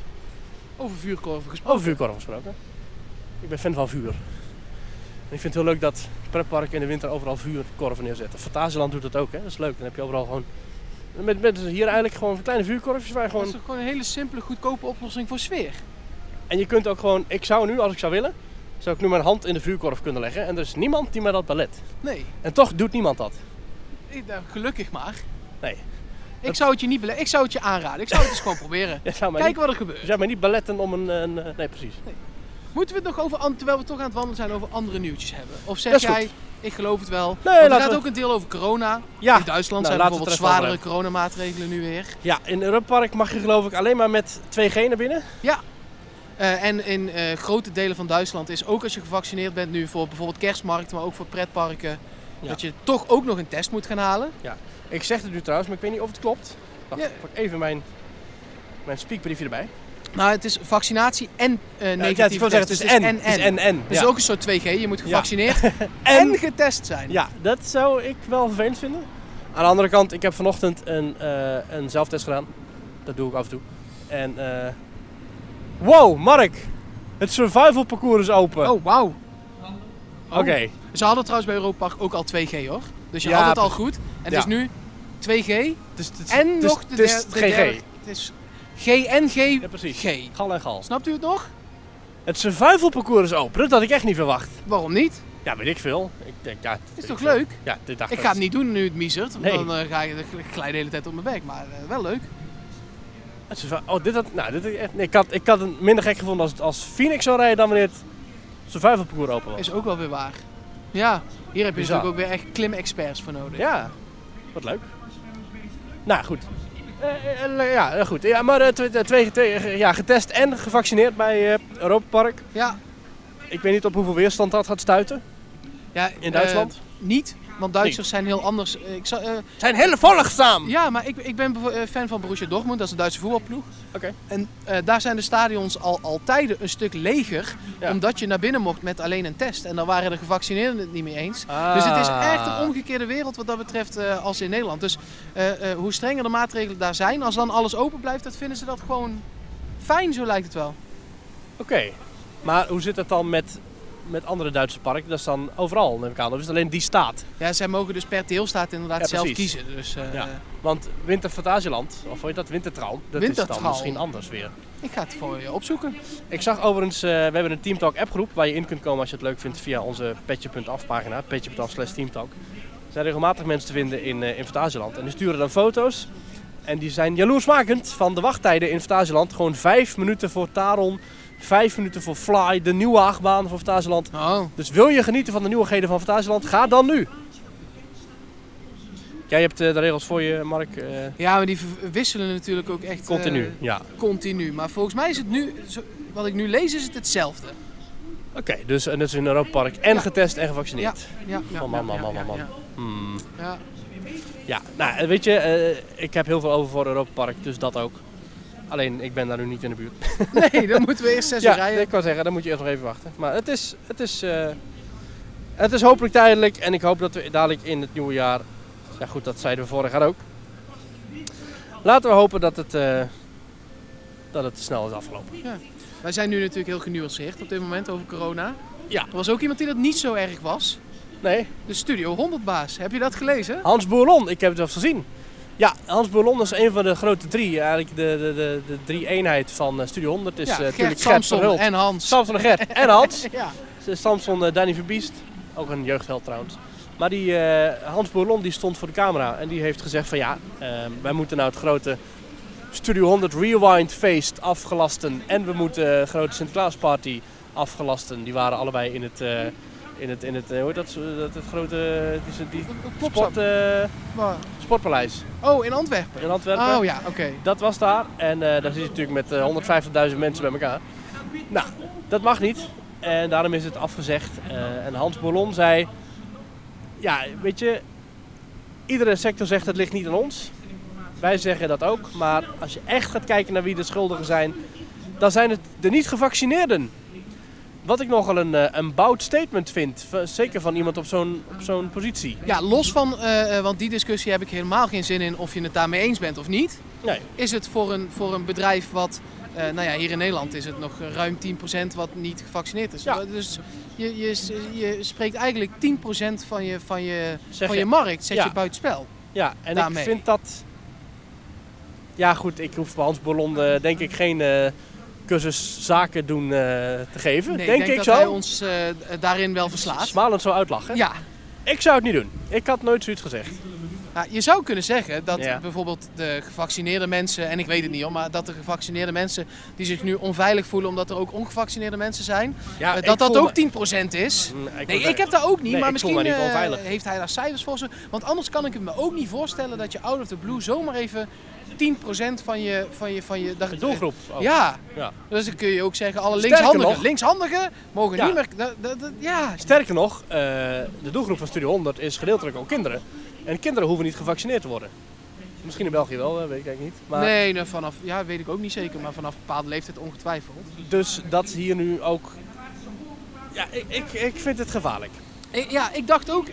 [SPEAKER 2] over vuurkorven gesproken.
[SPEAKER 1] Over vuurkorf gesproken. Ik ben fan van vuur. En ik vind het heel leuk dat pretparken in de winter overal vuurkorven neerzetten. Fantasieland doet dat ook, hè? Dat is leuk. Dan heb je overal gewoon. Met, met hier eigenlijk gewoon kleine vuurkorfjes waar je
[SPEAKER 2] Dat
[SPEAKER 1] gewoon.
[SPEAKER 2] is toch gewoon een hele simpele, goedkope oplossing voor sfeer.
[SPEAKER 1] En je kunt ook gewoon. Ik zou nu, als ik zou willen, zou ik nu mijn hand in de vuurkorf kunnen leggen. En er is niemand die mij dat belet.
[SPEAKER 2] Nee,
[SPEAKER 1] En toch doet niemand dat.
[SPEAKER 2] ik- nou, gelukkig maar.
[SPEAKER 1] Nee.
[SPEAKER 2] Ik zou het je niet bele- Ik zou het je aanraden. Ik zou het eens gewoon proberen.
[SPEAKER 1] Je zou mij
[SPEAKER 2] Kijken
[SPEAKER 1] niet,
[SPEAKER 2] wat er
[SPEAKER 1] je
[SPEAKER 2] gebeurt.
[SPEAKER 1] zou mij niet beletten om een. een, eh, nee, precies.
[SPEAKER 2] Moeten we het nog over, an- terwijl we toch aan het wandelen zijn, over andere nieuwtjes hebben?
[SPEAKER 1] Dat
[SPEAKER 2] Of zeg
[SPEAKER 1] is goed.
[SPEAKER 2] jij, ik geloof het wel.
[SPEAKER 1] Nee,
[SPEAKER 2] Want er
[SPEAKER 1] laten
[SPEAKER 2] gaat
[SPEAKER 1] we-
[SPEAKER 2] ook een deel over corona.
[SPEAKER 1] Ja.
[SPEAKER 2] In Duitsland
[SPEAKER 1] Nou,
[SPEAKER 2] zijn
[SPEAKER 1] laten we
[SPEAKER 2] bijvoorbeeld
[SPEAKER 1] het er even over
[SPEAKER 2] zwaardere coronamaatregelen nu weer.
[SPEAKER 1] Ja, in Europa Park mag je geloof ik alleen maar met 2G naar binnen.
[SPEAKER 2] Ja. Eh, en in eh, grote delen van Duitsland is ook als je gevaccineerd bent nu voor bijvoorbeeld kerstmarkten, maar ook voor pretparken,
[SPEAKER 1] Ja.
[SPEAKER 2] dat je toch ook nog een test moet gaan halen.
[SPEAKER 1] Ik zeg het nu trouwens, maar ik weet niet of het klopt. Wacht,
[SPEAKER 2] Ja.
[SPEAKER 1] ik pak even mijn, mijn speakbriefje erbij.
[SPEAKER 2] Maar het is vaccinatie en eh negatieve
[SPEAKER 1] ja, ik wil
[SPEAKER 2] test.
[SPEAKER 1] zeggen, het is
[SPEAKER 2] Dus
[SPEAKER 1] en. Het is en, en.
[SPEAKER 2] Dus
[SPEAKER 1] Ja.
[SPEAKER 2] ook een soort 2G. Je moet
[SPEAKER 1] Ja.
[SPEAKER 2] gevaccineerd en
[SPEAKER 1] En-
[SPEAKER 2] getest zijn.
[SPEAKER 1] Ja, dat zou ik wel vervelend vinden. Aan de andere kant, ik heb vanochtend een, eh, een zelftest gedaan. Dat doe ik af en toe. En eh, wow, Mark! Het survival parcours is open.
[SPEAKER 2] Oh, wauw.
[SPEAKER 1] Oké.
[SPEAKER 2] Ze hadden trouwens bij Europa Park ook al 2G hoor. Dus je
[SPEAKER 1] Ja,
[SPEAKER 2] had het al goed. En het
[SPEAKER 1] Ja.
[SPEAKER 2] is nu 2G
[SPEAKER 1] Dus, het is-
[SPEAKER 2] en
[SPEAKER 1] het is-
[SPEAKER 2] nog de,
[SPEAKER 1] het is
[SPEAKER 2] der- de
[SPEAKER 1] GG.
[SPEAKER 2] derde- Het is G en G.
[SPEAKER 1] Ja, precies.
[SPEAKER 2] G.
[SPEAKER 1] Gal en gal.
[SPEAKER 2] Snapt u het nog?
[SPEAKER 1] Het survival parcours is open. Dat had ik echt niet verwacht.
[SPEAKER 2] Waarom niet?
[SPEAKER 1] Ja, weet ik veel. Ik denk, ja,
[SPEAKER 2] Is
[SPEAKER 1] ik
[SPEAKER 2] toch
[SPEAKER 1] veel.
[SPEAKER 2] leuk?
[SPEAKER 1] Ja, dit dacht
[SPEAKER 2] Ik ga het niet doen nu het miezert. want
[SPEAKER 1] Nee.
[SPEAKER 2] Dan eh, ga je dan glij je de hele tijd op mijn bek. Maar eh, wel leuk.
[SPEAKER 1] Het survi- Oh, dit had, nou, dit had ik echt, nee, ik, had, ik had het minder gek gevonden als het als Phoenix zou rijden dan wanneer het survival parcours open was.
[SPEAKER 2] Is ook wel weer waar. Ja, hier heb je
[SPEAKER 1] Bizar.
[SPEAKER 2] natuurlijk ook weer echt klimexperts voor nodig.
[SPEAKER 1] Ja, wat leuk. Nou, goed. Eh, eh, eh, ja, eh, goed. Ja, maar eh, tw- eh, twee, twee, eh, ja, getest en gevaccineerd bij eh Europa Park.
[SPEAKER 2] Ja,
[SPEAKER 1] Ik weet niet op hoeveel weerstand dat gaat stuiten.
[SPEAKER 2] ja,
[SPEAKER 1] In Duitsland?
[SPEAKER 2] eh, niet, want Duitsers zijn heel anders. Eh, Ik zou, eh,
[SPEAKER 1] Zijn heel volgzaam!
[SPEAKER 2] ja, maar ik, ik ben bevo- eh, fan van Borussia Dortmund, dat is een Duitse voetbalploeg.
[SPEAKER 1] Oké.
[SPEAKER 2] En eh, daar zijn de stadions al altijd een stuk leger,
[SPEAKER 1] Ja.
[SPEAKER 2] omdat je naar binnen mocht met alleen een test. En dan waren de gevaccineerden het niet mee eens.
[SPEAKER 1] Ah.
[SPEAKER 2] Dus het is echt een omgekeerde wereld wat dat betreft eh, als in Nederland. Dus eh, eh, hoe strenger de maatregelen daar zijn, als dan alles open blijft, dat vinden ze dat gewoon fijn, zo lijkt het wel.
[SPEAKER 1] Oké, maar hoe zit dat dan met, met andere Duitse parken? Dat is dan overal, neem ik aan. Of is het alleen die staat?
[SPEAKER 2] Ja, zij mogen dus per deelstaat inderdaad
[SPEAKER 1] Ja,
[SPEAKER 2] zelf
[SPEAKER 1] precies.
[SPEAKER 2] kiezen. Dus eh,
[SPEAKER 1] Ja. Want Winter Fantasieland, of hoe heet dat? Wintertraum. Dat is
[SPEAKER 2] Wintertraum.
[SPEAKER 1] dan misschien anders weer.
[SPEAKER 2] ik ga het voor je opzoeken.
[SPEAKER 1] Ik zag overigens, eh, we hebben een Teamtalk appgroep waar je in kunt komen als je het leuk vindt via onze petje.af pagina, petje.af slash teamtalk. Er zijn regelmatig mensen te vinden in, eh in Fantasieland en die sturen dan foto's. En die zijn jaloersmakend van de wachttijden in Fantasieland. Gewoon vijf minuten voor Taron, vijf minuten voor Fly, de nieuwe achtbaan van Fantasieland.
[SPEAKER 2] Oh.
[SPEAKER 1] Dus wil je genieten van de nieuwigheden van Fantasieland, ga dan nu! Jij hebt eh, de regels voor je, Mark. eh,
[SPEAKER 2] Ja, maar die v- wisselen natuurlijk ook echt...
[SPEAKER 1] continu,
[SPEAKER 2] eh,
[SPEAKER 1] ja.
[SPEAKER 2] continu. Maar volgens mij is het nu... zo- Wat ik nu lees is het hetzelfde.
[SPEAKER 1] Oké, dus en dat is in Europa Park en
[SPEAKER 2] Ja.
[SPEAKER 1] getest en gevaccineerd.
[SPEAKER 2] Ja, ja,
[SPEAKER 1] Man, man, man, man, man, man.
[SPEAKER 2] ja,
[SPEAKER 1] Hmm.
[SPEAKER 2] ja. Ja.
[SPEAKER 1] Ja, nou eh, weet je, eh, ik heb heel veel over voor Europa Park, dus dat ook. Alleen ik ben daar nu niet in de buurt.
[SPEAKER 2] Nee, dan moeten we eerst zes uur
[SPEAKER 1] ja,
[SPEAKER 2] rijden.
[SPEAKER 1] ik kan zeggen, dan moet je eerst nog even wachten. Maar het is, het is, eh, het is hopelijk tijdelijk en ik hoop dat we dadelijk in het nieuwe jaar. Ja, goed, dat zeiden we vorig jaar ook. Laten we hopen dat het, eh, dat het snel is afgelopen.
[SPEAKER 2] Wij zijn nu natuurlijk heel genuanceerd op dit moment over corona.
[SPEAKER 1] Ja.
[SPEAKER 2] Er was ook iemand die dat niet zo erg was.
[SPEAKER 1] Nee,
[SPEAKER 2] De Studio 100 baas. Heb je dat gelezen?
[SPEAKER 1] Hans Bourlon, ik heb het zelfs gezien. Ja, Hans Bourlon is een van de grote drie. Eigenlijk de, de, de, de drie eenheid van eh, Studio 100 is eh, natuurlijk Gert
[SPEAKER 2] Samson
[SPEAKER 1] Verhult.
[SPEAKER 2] en Hans.
[SPEAKER 1] Samson en Gert en Hans.
[SPEAKER 2] Ja.
[SPEAKER 1] Samson eh, Danny Verbiest, ook een jeugdheld trouwens. Maar die eh, Hans Bourlon die stond voor de camera en die heeft gezegd van ja, eh, wij moeten nou het grote Studio 100 Rewind feest afgelasten. En we moeten de grote Sinterklaas party afgelasten. Die waren allebei in het, eh, in het, in het eh, hoe heet dat, zo- dat, het grote eh, die, die
[SPEAKER 2] Klopt
[SPEAKER 1] sport, eh,
[SPEAKER 2] Waar?
[SPEAKER 1] sportpaleis
[SPEAKER 2] Oh, in Antwerpen.
[SPEAKER 1] in Antwerpen.
[SPEAKER 2] Oh ja, oké.
[SPEAKER 1] Dat was daar. En eh, daar zit je natuurlijk met eh, 150.000 mensen bij elkaar. Nou, dat mag niet. En daarom is het afgezegd. Eh, en Hans Bourlon zei... Ja, weet je... Iedere sector zegt het ligt niet aan ons. Wij zeggen dat ook. Maar als je echt gaat kijken naar wie de schuldigen zijn... dan zijn het de niet-gevaccineerden. Wat ik nogal een, eh, een bout statement vind. v- Zeker van iemand op zo'n op zo'n positie.
[SPEAKER 2] Ja, los van, eh, eh, want die discussie heb ik helemaal geen zin in of je het daarmee eens bent of niet.
[SPEAKER 1] Nee.
[SPEAKER 2] Is het voor een, voor een bedrijf wat, eh, nou ja, hier in Nederland is het nog ruim 10% wat niet gevaccineerd is.
[SPEAKER 1] Ja.
[SPEAKER 2] Dus je, je, je spreekt eigenlijk 10% van je, van je,
[SPEAKER 1] Zeg
[SPEAKER 2] van
[SPEAKER 1] je-
[SPEAKER 2] je markt, zet
[SPEAKER 1] ja.
[SPEAKER 2] je buitenspel.
[SPEAKER 1] Ja, en
[SPEAKER 2] Daarmee.
[SPEAKER 1] ik vind dat... Ja goed, ik hoef Hans Bollon eh, denk ik geen eh, cursus zaken doen eh, te geven.
[SPEAKER 2] Nee,
[SPEAKER 1] denk
[SPEAKER 2] ik
[SPEAKER 1] ik,
[SPEAKER 2] denk dat
[SPEAKER 1] zo.
[SPEAKER 2] hij ons eh, daarin wel verslaat.
[SPEAKER 1] Smalend zo uitlachen.
[SPEAKER 2] Ja,
[SPEAKER 1] Ik zou het niet doen. Ik had nooit zoiets gezegd.
[SPEAKER 2] Nou, je zou kunnen zeggen dat
[SPEAKER 1] Ja.
[SPEAKER 2] bijvoorbeeld de gevaccineerde mensen, en ik weet het niet hoor, maar dat de gevaccineerde mensen die zich nu onveilig voelen omdat er ook ongevaccineerde mensen zijn,
[SPEAKER 1] Ja,
[SPEAKER 2] eh,
[SPEAKER 1] ik
[SPEAKER 2] dat dat
[SPEAKER 1] voel
[SPEAKER 2] ook
[SPEAKER 1] me-
[SPEAKER 2] 10% is.
[SPEAKER 1] Mm, ik
[SPEAKER 2] nee,
[SPEAKER 1] wou
[SPEAKER 2] ik heb dat ook niet,
[SPEAKER 1] Nee,
[SPEAKER 2] maar
[SPEAKER 1] ik voel
[SPEAKER 2] misschien
[SPEAKER 1] me niet
[SPEAKER 2] eh,
[SPEAKER 1] onveilig.
[SPEAKER 2] heeft hij daar cijfers voor. ze- Want anders kan ik het me ook niet voorstellen dat je out of the blue zomaar even 10% van je... Van je, van je, dat-
[SPEAKER 1] De doelgroep. ook.
[SPEAKER 2] Ja,
[SPEAKER 1] Ja.
[SPEAKER 2] dus dan kun je ook zeggen, alle
[SPEAKER 1] Sterker
[SPEAKER 2] linkshandigen,
[SPEAKER 1] nog-
[SPEAKER 2] linkshandigen mogen
[SPEAKER 1] Ja.
[SPEAKER 2] niet meer... Dat, dat, dat- ja,
[SPEAKER 1] Sterker nog, eh, de doelgroep van Studio 100 is gedeeltelijk ook kinderen. En kinderen hoeven niet gevaccineerd te worden. Misschien in België wel, hè, weet ik eigenlijk niet. Maar
[SPEAKER 2] nee, nou, vanaf, ja, weet ik ook niet zeker, maar vanaf een bepaalde leeftijd ongetwijfeld.
[SPEAKER 1] Dus dat hier nu ook... Ja, ik, ik, ik vind het gevaarlijk.
[SPEAKER 2] Ik- ja, ik dacht ook,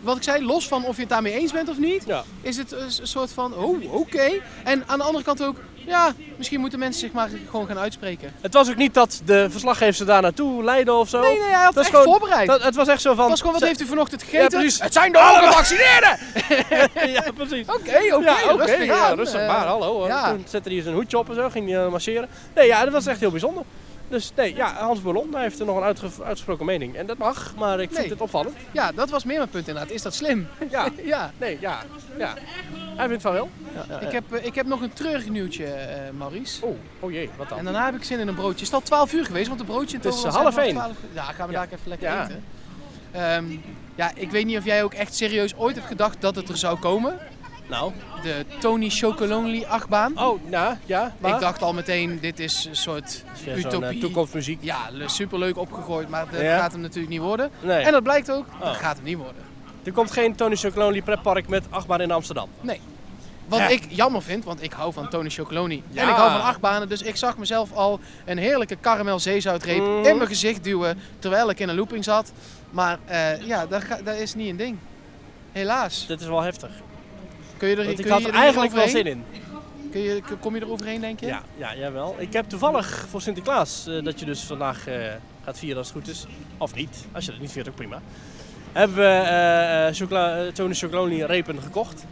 [SPEAKER 2] wat ik zei, los van of je het daarmee eens bent of niet,
[SPEAKER 1] Ja.
[SPEAKER 2] is het een s- een soort van, oh, oké. En aan de andere kant ook, ja, misschien moeten mensen zich maar gewoon gaan uitspreken.
[SPEAKER 1] Het was ook niet dat de verslaggever daar naartoe leidde of zo.
[SPEAKER 2] Nee, nee, hij had
[SPEAKER 1] Dat
[SPEAKER 2] het
[SPEAKER 1] is
[SPEAKER 2] echt
[SPEAKER 1] gewoon-
[SPEAKER 2] voorbereid.
[SPEAKER 1] Dat, het was echt zo van...
[SPEAKER 2] het was gewoon, wat
[SPEAKER 1] ze-
[SPEAKER 2] heeft u vanochtend
[SPEAKER 1] Ja,
[SPEAKER 2] gegeten?
[SPEAKER 1] precies.
[SPEAKER 2] het zijn de ongevaccineerden!
[SPEAKER 1] Ja, precies.
[SPEAKER 2] Oké, oké,
[SPEAKER 1] ja, oké,
[SPEAKER 2] rustig
[SPEAKER 1] ja,
[SPEAKER 2] aan.
[SPEAKER 1] rustig
[SPEAKER 2] Eh,
[SPEAKER 1] maar, hallo. hoor.
[SPEAKER 2] ja.
[SPEAKER 1] Toen zette hij zijn hoedje op en zo, ging hij eh, marcheren. Nee, ja, dat was echt heel bijzonder. Dus nee, ja, Hans Ballon hij heeft er nog een uitge- uitgesproken mening. En dat mag, maar ik vind
[SPEAKER 2] Nee.
[SPEAKER 1] het opvallend.
[SPEAKER 2] Ja, dat was meer mijn punt inderdaad. Is dat slim?
[SPEAKER 1] Ja,
[SPEAKER 2] ja.
[SPEAKER 1] nee, ja, ja. Hij vindt van wel.
[SPEAKER 2] Ik, heb, eh, ik heb nog een treurig nieuwtje, eh, Maurice.
[SPEAKER 1] Oh, oh jee, wat dan?
[SPEAKER 2] En daarna heb ik zin in een broodje. Is het al 12 uur geweest? Want een broodje in
[SPEAKER 1] Het is
[SPEAKER 2] Toverland
[SPEAKER 1] half
[SPEAKER 2] zijn
[SPEAKER 1] één.
[SPEAKER 2] vanaf 12 uur. Ja, gaan we
[SPEAKER 1] Ja.
[SPEAKER 2] daar even lekker
[SPEAKER 1] Ja.
[SPEAKER 2] eten. Ehm, ja, ik weet niet of jij ook echt serieus ooit hebt gedacht dat het er zou komen.
[SPEAKER 1] Nou,
[SPEAKER 2] De Tony Chocolonely achtbaan.
[SPEAKER 1] oh, nou, ja, maar...
[SPEAKER 2] Ik dacht al meteen, dit is een soort
[SPEAKER 1] Ja, zo'n, eh,
[SPEAKER 2] utopie.
[SPEAKER 1] toekomstmuziek.
[SPEAKER 2] Ja, le- superleuk opgegooid, maar dat
[SPEAKER 1] Ja.
[SPEAKER 2] gaat hem natuurlijk niet worden.
[SPEAKER 1] Nee.
[SPEAKER 2] En dat blijkt ook,
[SPEAKER 1] Oh.
[SPEAKER 2] dat gaat hem niet worden.
[SPEAKER 1] Er komt geen Tony Chocolonely pretpark met achtbaan in Amsterdam.
[SPEAKER 2] Nee. Wat
[SPEAKER 1] Ja.
[SPEAKER 2] ik jammer vind, want ik hou van Tony Chocoloni.
[SPEAKER 1] Ja.
[SPEAKER 2] En ik hou van achtbanen, dus ik zag mezelf al een heerlijke karamel zeezoutreep
[SPEAKER 1] Mm.
[SPEAKER 2] in mijn gezicht duwen terwijl ik in een looping zat. Maar eh, ja, dat, ga- dat is niet een ding. Helaas.
[SPEAKER 1] Dit is wel heftig.
[SPEAKER 2] Kun je er,
[SPEAKER 1] Want
[SPEAKER 2] kun
[SPEAKER 1] ik
[SPEAKER 2] je
[SPEAKER 1] had
[SPEAKER 2] er
[SPEAKER 1] er eigenlijk wel
[SPEAKER 2] overheen?
[SPEAKER 1] zin in.
[SPEAKER 2] Kun je, kom je er overheen, denk je?
[SPEAKER 1] Ja, ja, jawel. Ik heb toevallig voor Sinterklaas, eh, dat je dus vandaag eh, gaat vieren als het goed is, of niet, als je dat niet viert ook prima, hebben we eh, eh, chocola, eh, Tony Chocolonely repen gekocht.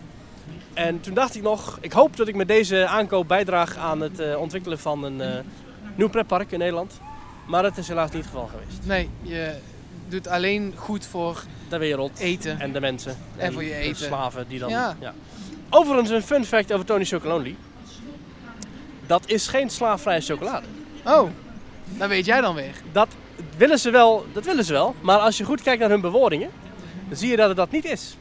[SPEAKER 1] En toen dacht ik nog, ik hoop dat ik met deze aankoop bijdraag aan het eh, ontwikkelen van een eh, nieuw pretpark in Nederland. Maar dat is helaas niet het geval geweest.
[SPEAKER 2] Nee, je doet alleen goed voor
[SPEAKER 1] De wereld
[SPEAKER 2] eten.
[SPEAKER 1] en de mensen.
[SPEAKER 2] En voor je
[SPEAKER 1] De
[SPEAKER 2] eten.
[SPEAKER 1] slaven die dan... Ja.
[SPEAKER 2] Ja.
[SPEAKER 1] Overigens een fun fact over Tony Chocolonely. Dat is geen slaafvrije chocolade.
[SPEAKER 2] Oh, dat weet jij dan weer.
[SPEAKER 1] Dat willen ze wel, dat willen ze wel. Maar als je goed kijkt naar hun bewoordingen, dan zie je dat het dat niet is.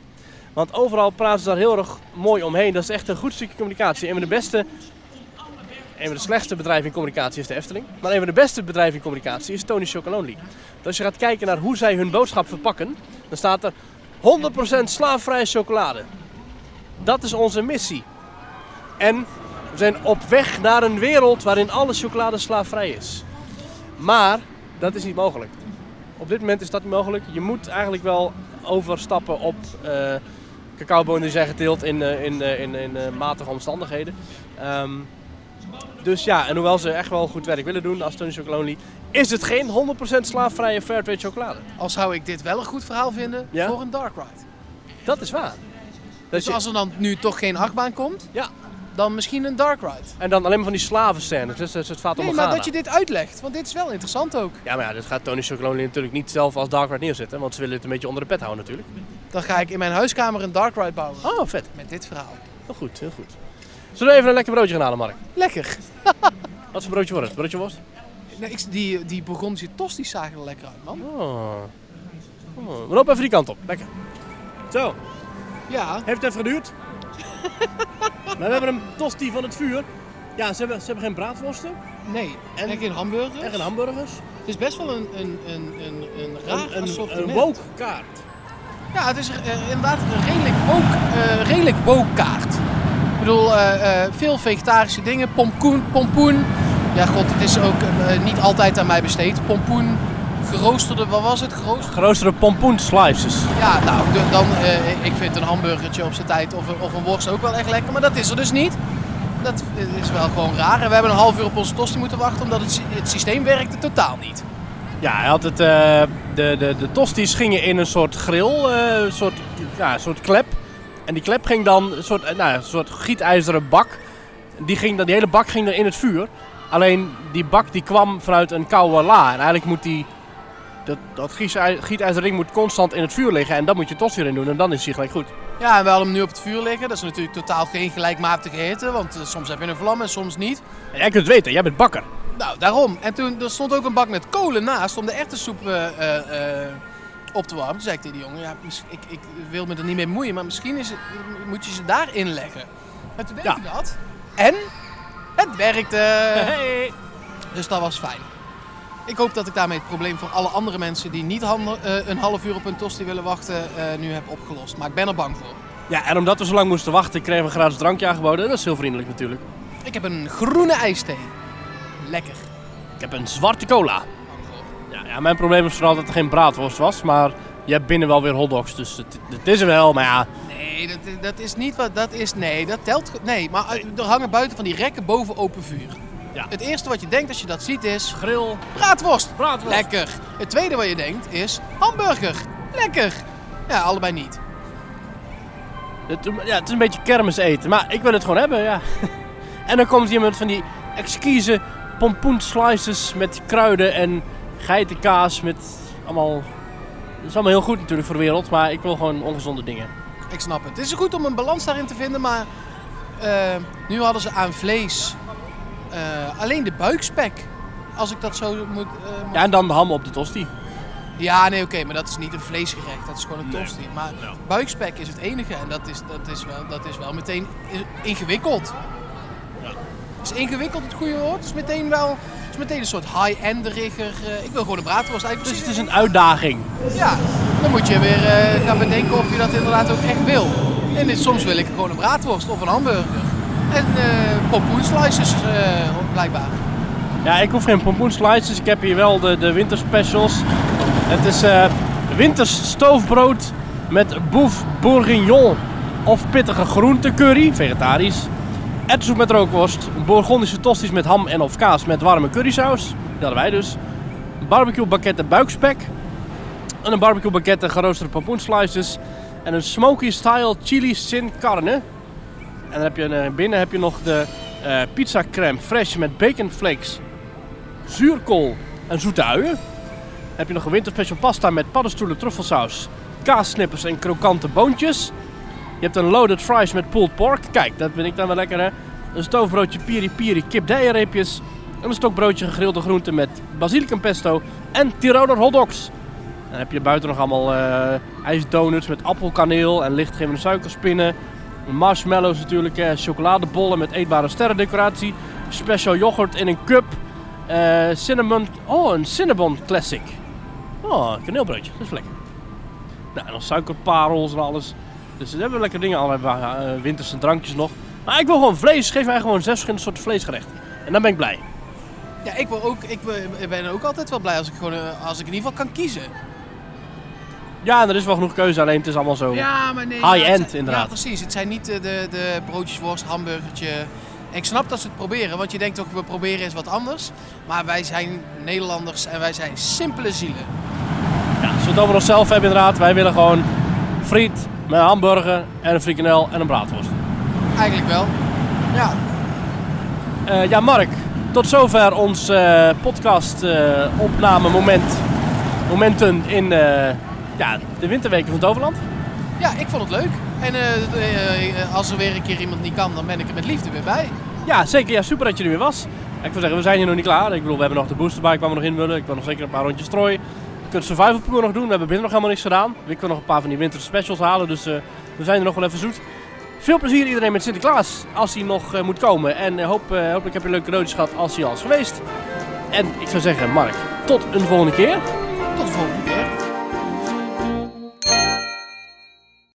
[SPEAKER 1] Want overal praten ze daar heel erg mooi omheen. Dat is echt een goed stukje communicatie. Een van de beste, een van de slechtste bedrijven in communicatie is de Efteling. Maar een van de beste bedrijven in communicatie is Tony Chocolonely. Dus als je gaat kijken naar hoe zij hun boodschap verpakken, dan staat er 100% slaafvrije chocolade. Dat is onze missie. En we zijn op weg naar een wereld waarin alle chocolade slaafvrij is. Maar dat is niet mogelijk. Op dit moment is dat niet mogelijk. Je moet eigenlijk wel overstappen op eh cacaobonen die zijn geteeld in, eh, in, eh, in, in eh, matige omstandigheden. Ehm, dus ja, en hoewel ze echt wel goed werk willen doen als Tony Chocolonely, is het geen 100% slaafvrije fairtrade chocolade.
[SPEAKER 2] Al zou ik dit wel een goed verhaal vinden
[SPEAKER 1] Ja?
[SPEAKER 2] voor een dark ride.
[SPEAKER 1] Dat is waar. Dus
[SPEAKER 2] Dus als er dan nu toch geen achtbaan komt,
[SPEAKER 1] Ja,
[SPEAKER 2] dan misschien een dark ride.
[SPEAKER 1] en dan alleen maar van die slavenscènes. Dus, dus het gaat om
[SPEAKER 2] Nee, maar dat je dit uitlegt, want dit is wel interessant ook.
[SPEAKER 1] Ja, maar ja, dat gaat Tony Chocolonely natuurlijk niet zelf als Dark Ride neerzetten, want ze willen het een beetje onder de pet houden natuurlijk.
[SPEAKER 2] Dan ga ik in mijn huiskamer een dark ride bouwen.
[SPEAKER 1] Oh, vet.
[SPEAKER 2] Met dit verhaal.
[SPEAKER 1] Heel goed, heel goed. Zullen we even een lekker broodje gaan halen, Mark?
[SPEAKER 2] Lekker.
[SPEAKER 1] Wat voor broodje wordt het? Broodje worst?
[SPEAKER 2] Nee, ik, die, die Burgondische tost die zagen er lekker uit, man.
[SPEAKER 1] Oh. Oh, We lopen even die kant op. Lekker. Zo,
[SPEAKER 2] Ja.
[SPEAKER 1] heeft even geduurd. maar we hebben een tosti van het vuur. Ja, ze hebben, ze hebben geen braadworsten
[SPEAKER 2] Nee.
[SPEAKER 1] En-
[SPEAKER 2] En, geen hamburger.
[SPEAKER 1] en geen hamburgers.
[SPEAKER 2] Het is best wel een, een, een, een, een raar
[SPEAKER 1] Een, een,
[SPEAKER 2] assortiment.
[SPEAKER 1] een woke kaart.
[SPEAKER 2] Ja, het is eh, inderdaad een redelijk woke, eh, redelijk woke kaart. Ik bedoel, eh, eh, veel vegetarische dingen. Pompoen, pompoen. Ja, god, het is ook eh, niet altijd aan mij besteed. Pompoen, geroosterde, wat was het? Geroosterde.
[SPEAKER 1] Geroosterde pompoen slices.
[SPEAKER 2] Ja, nou, d- dan, eh, ik vind een hamburgertje op zijn tijd of, een- of een worst ook wel echt lekker, maar dat is er dus niet. Dat eh, is wel gewoon raar. En we hebben een half uur op onze tosti moeten wachten, omdat het, sy- het systeem werkte totaal niet.
[SPEAKER 1] Ja, hij had het, eh, de, de, de tosti's gingen in een soort grill, eh, een soort, ja, een soort klep. En die klep ging dan, een soort, eh, nou, een soort gietijzeren bak. Die, ging dan, die hele bak ging dan in het vuur. Alleen die bak die kwam vanuit een koude la. En eigenlijk moet die, dat, dat gietij- gietijzeren ding moet constant in het vuur liggen. En dan moet je tosti erin doen en dan is hij gelijk goed.
[SPEAKER 2] Ja, en we hadden hem nu op het vuur liggen. Dat is natuurlijk totaal geen gelijkmatige hitte, want eh, soms heb je een vlam en soms niet.
[SPEAKER 1] Jij kunt het weten, jij bent bakker.
[SPEAKER 2] Nou, daarom. En toen er stond ook een bak met kolen naast om de erwtensoep eh, eh, eh, op te warmen. Toen zei ik tegen die jongen, ja, mis- ik, ik wil me er niet mee moeien, maar misschien is het, moet je ze daarin leggen. En toen deed
[SPEAKER 1] Ja.
[SPEAKER 2] hij dat. En het werkte.
[SPEAKER 1] Hey.
[SPEAKER 2] Dus dat was fijn. Ik hoop dat ik daarmee het probleem voor alle andere mensen die niet handel- eh, een half uur op hun tosti willen wachten, eh, nu heb opgelost. Maar ik ben er bang voor.
[SPEAKER 1] Ja, en omdat we zo lang moesten wachten, kregen we een gratis drankje aangeboden. Dat is heel vriendelijk natuurlijk.
[SPEAKER 2] Ik heb een groene ijsthee. Lekker.
[SPEAKER 1] Ik heb een zwarte cola.
[SPEAKER 2] Bang voor.
[SPEAKER 1] Ja, ja mijn probleem was vooral dat er geen braadworst was, maar je hebt binnen wel weer hotdogs, dus het, het is er wel, maar ja.
[SPEAKER 2] Nee, dat, dat is niet wat dat is. Nee, dat telt. ge- Nee, maar eh, er hangen buiten van die rekken boven open vuur.
[SPEAKER 1] Ja.
[SPEAKER 2] Het eerste wat je denkt als je dat ziet is.
[SPEAKER 1] Grill,
[SPEAKER 2] Braadworst!
[SPEAKER 1] braadworst.
[SPEAKER 2] Lekker! Het tweede wat je denkt is. Hamburger! Lekker! Ja, allebei niet.
[SPEAKER 1] Het, ja, het is een beetje kermis eten, maar ik wil het gewoon hebben, ja. en dan komt iemand van die exquise pompoen slices met kruiden en geitenkaas met allemaal... Dat is allemaal heel goed natuurlijk voor de wereld, maar ik wil gewoon ongezonde dingen.
[SPEAKER 2] Ik snap het. Het is goed om een balans daarin te vinden, maar. eh, nu hadden ze aan vlees. eh, alleen de buikspek. Als ik dat zo moet. eh, moet-
[SPEAKER 1] Ja, en dan de ham op de tosti.
[SPEAKER 2] Ja, nee, oké, maar dat is niet een vleesgerecht. Dat is gewoon een tosti. Maar buikspek is het enige. En dat is, dat is, wel, dat is wel meteen i- ingewikkeld. Is ingewikkeld het goede woord? Is meteen wel is meteen een soort high-enderiger. eh, ik wil gewoon een braadworst eigenlijk.
[SPEAKER 1] Dus het
[SPEAKER 2] precies.
[SPEAKER 1] is een uitdaging.
[SPEAKER 2] Ja, dan moet je weer eh, gaan bedenken of je dat inderdaad ook echt wil. En dit- soms wil ik gewoon een braadworst of een hamburger. En eh pompoen slices eh, blijkbaar.
[SPEAKER 1] Ja, ik hoef geen pompoen slices. Ik heb hier wel de, de winterspecials. Het is eh winters stoofbrood met boef bourguignon of pittige groentecurry, vegetarisch. Ertsoep met rookworst, bourgondische tosties met ham en of kaas met warme currysaus. Die hadden wij dus. Barbecue bakketten buikspek. En een barbecue bakketten geroosterde pompoen slices. En een smoky style chili sin carne. En dan heb je eh, binnen heb je nog de eh, pizza crème fresh met bacon flakes, zuurkool en zoete uien. Dan heb je nog een winterspecial pasta met paddenstoelen, truffelsaus, kaassnippers en krokante boontjes. Je hebt een loaded fries met pulled pork. Kijk, dat vind ik dan wel lekker hè. Een stoofbroodje piri piri kipdijenreepjes. En een stokbroodje gegrilde groenten met basilicumpesto en Tiroler hotdogs. En dan heb je buiten nog allemaal eh, ijsdonuts met appelkaneel en lichtgevende suikerspinnen. Marshmallows natuurlijk, eh, chocoladebollen met eetbare sterrendecoratie. Special yoghurt in een cup. eh, cinnamon, oh een cinnamon classic. Oh, een kaneelbroodje, dat is lekker. Nou, en dan suikerparels en alles. Dus we hebben lekkere dingen, allerlei eh, winterse drankjes nog. Maar ik wil gewoon vlees, geef mij gewoon zes verschillende soorten vleesgerechten. En dan ben ik blij.
[SPEAKER 2] Ja, ik, wil ook, ik ben- ik ben ook altijd wel blij als ik, gewoon, eh, als ik in ieder geval kan kiezen.
[SPEAKER 1] Ja, en er is wel genoeg keuze, alleen het is allemaal zo.
[SPEAKER 2] Ja, maar nee.
[SPEAKER 1] High
[SPEAKER 2] ja, het
[SPEAKER 1] end,
[SPEAKER 2] zijn-
[SPEAKER 1] inderdaad.
[SPEAKER 2] Ja, precies. Het zijn niet eh, de, de broodjesworst, hamburgertje. En ik snap dat ze het proberen, want je denkt ook, we proberen eens wat anders. Maar wij zijn Nederlanders en wij zijn simpele zielen.
[SPEAKER 1] Ja, als we het over onszelf hebben inderdaad. Wij willen gewoon friet met een hamburger en een frikandel en een braadworst.
[SPEAKER 2] Eigenlijk wel. Ja,
[SPEAKER 1] Eh, ja, Mark, tot zover ons podcast eh opname moment, momenten in eh, ja, de winterweken van Toverland.
[SPEAKER 2] ja ik vond het leuk. En eh, eh, eh, als er weer een keer iemand niet kan, dan ben ik er met liefde weer bij.
[SPEAKER 1] Ja, zeker. Ja, super dat je er weer was. Ik wil zeggen, we zijn hier nog niet klaar. Ik bedoel, we hebben nog de boosterbike waar we nog in willen. Ik wil nog zeker een paar rondjes strooien. We kunnen survival pool nog doen. We hebben binnen nog helemaal niks gedaan. We kunnen nog een paar van die winter specials halen. Dus eh, we zijn er nog wel even zoet. Veel plezier iedereen met Sinterklaas als hij nog eh, moet komen. En eh, hoop, eh, hopelijk heb je leuke cadeautjes gehad als hij al is geweest. En ik zou zeggen, Mark, tot een volgende keer.
[SPEAKER 2] Tot de volgende keer.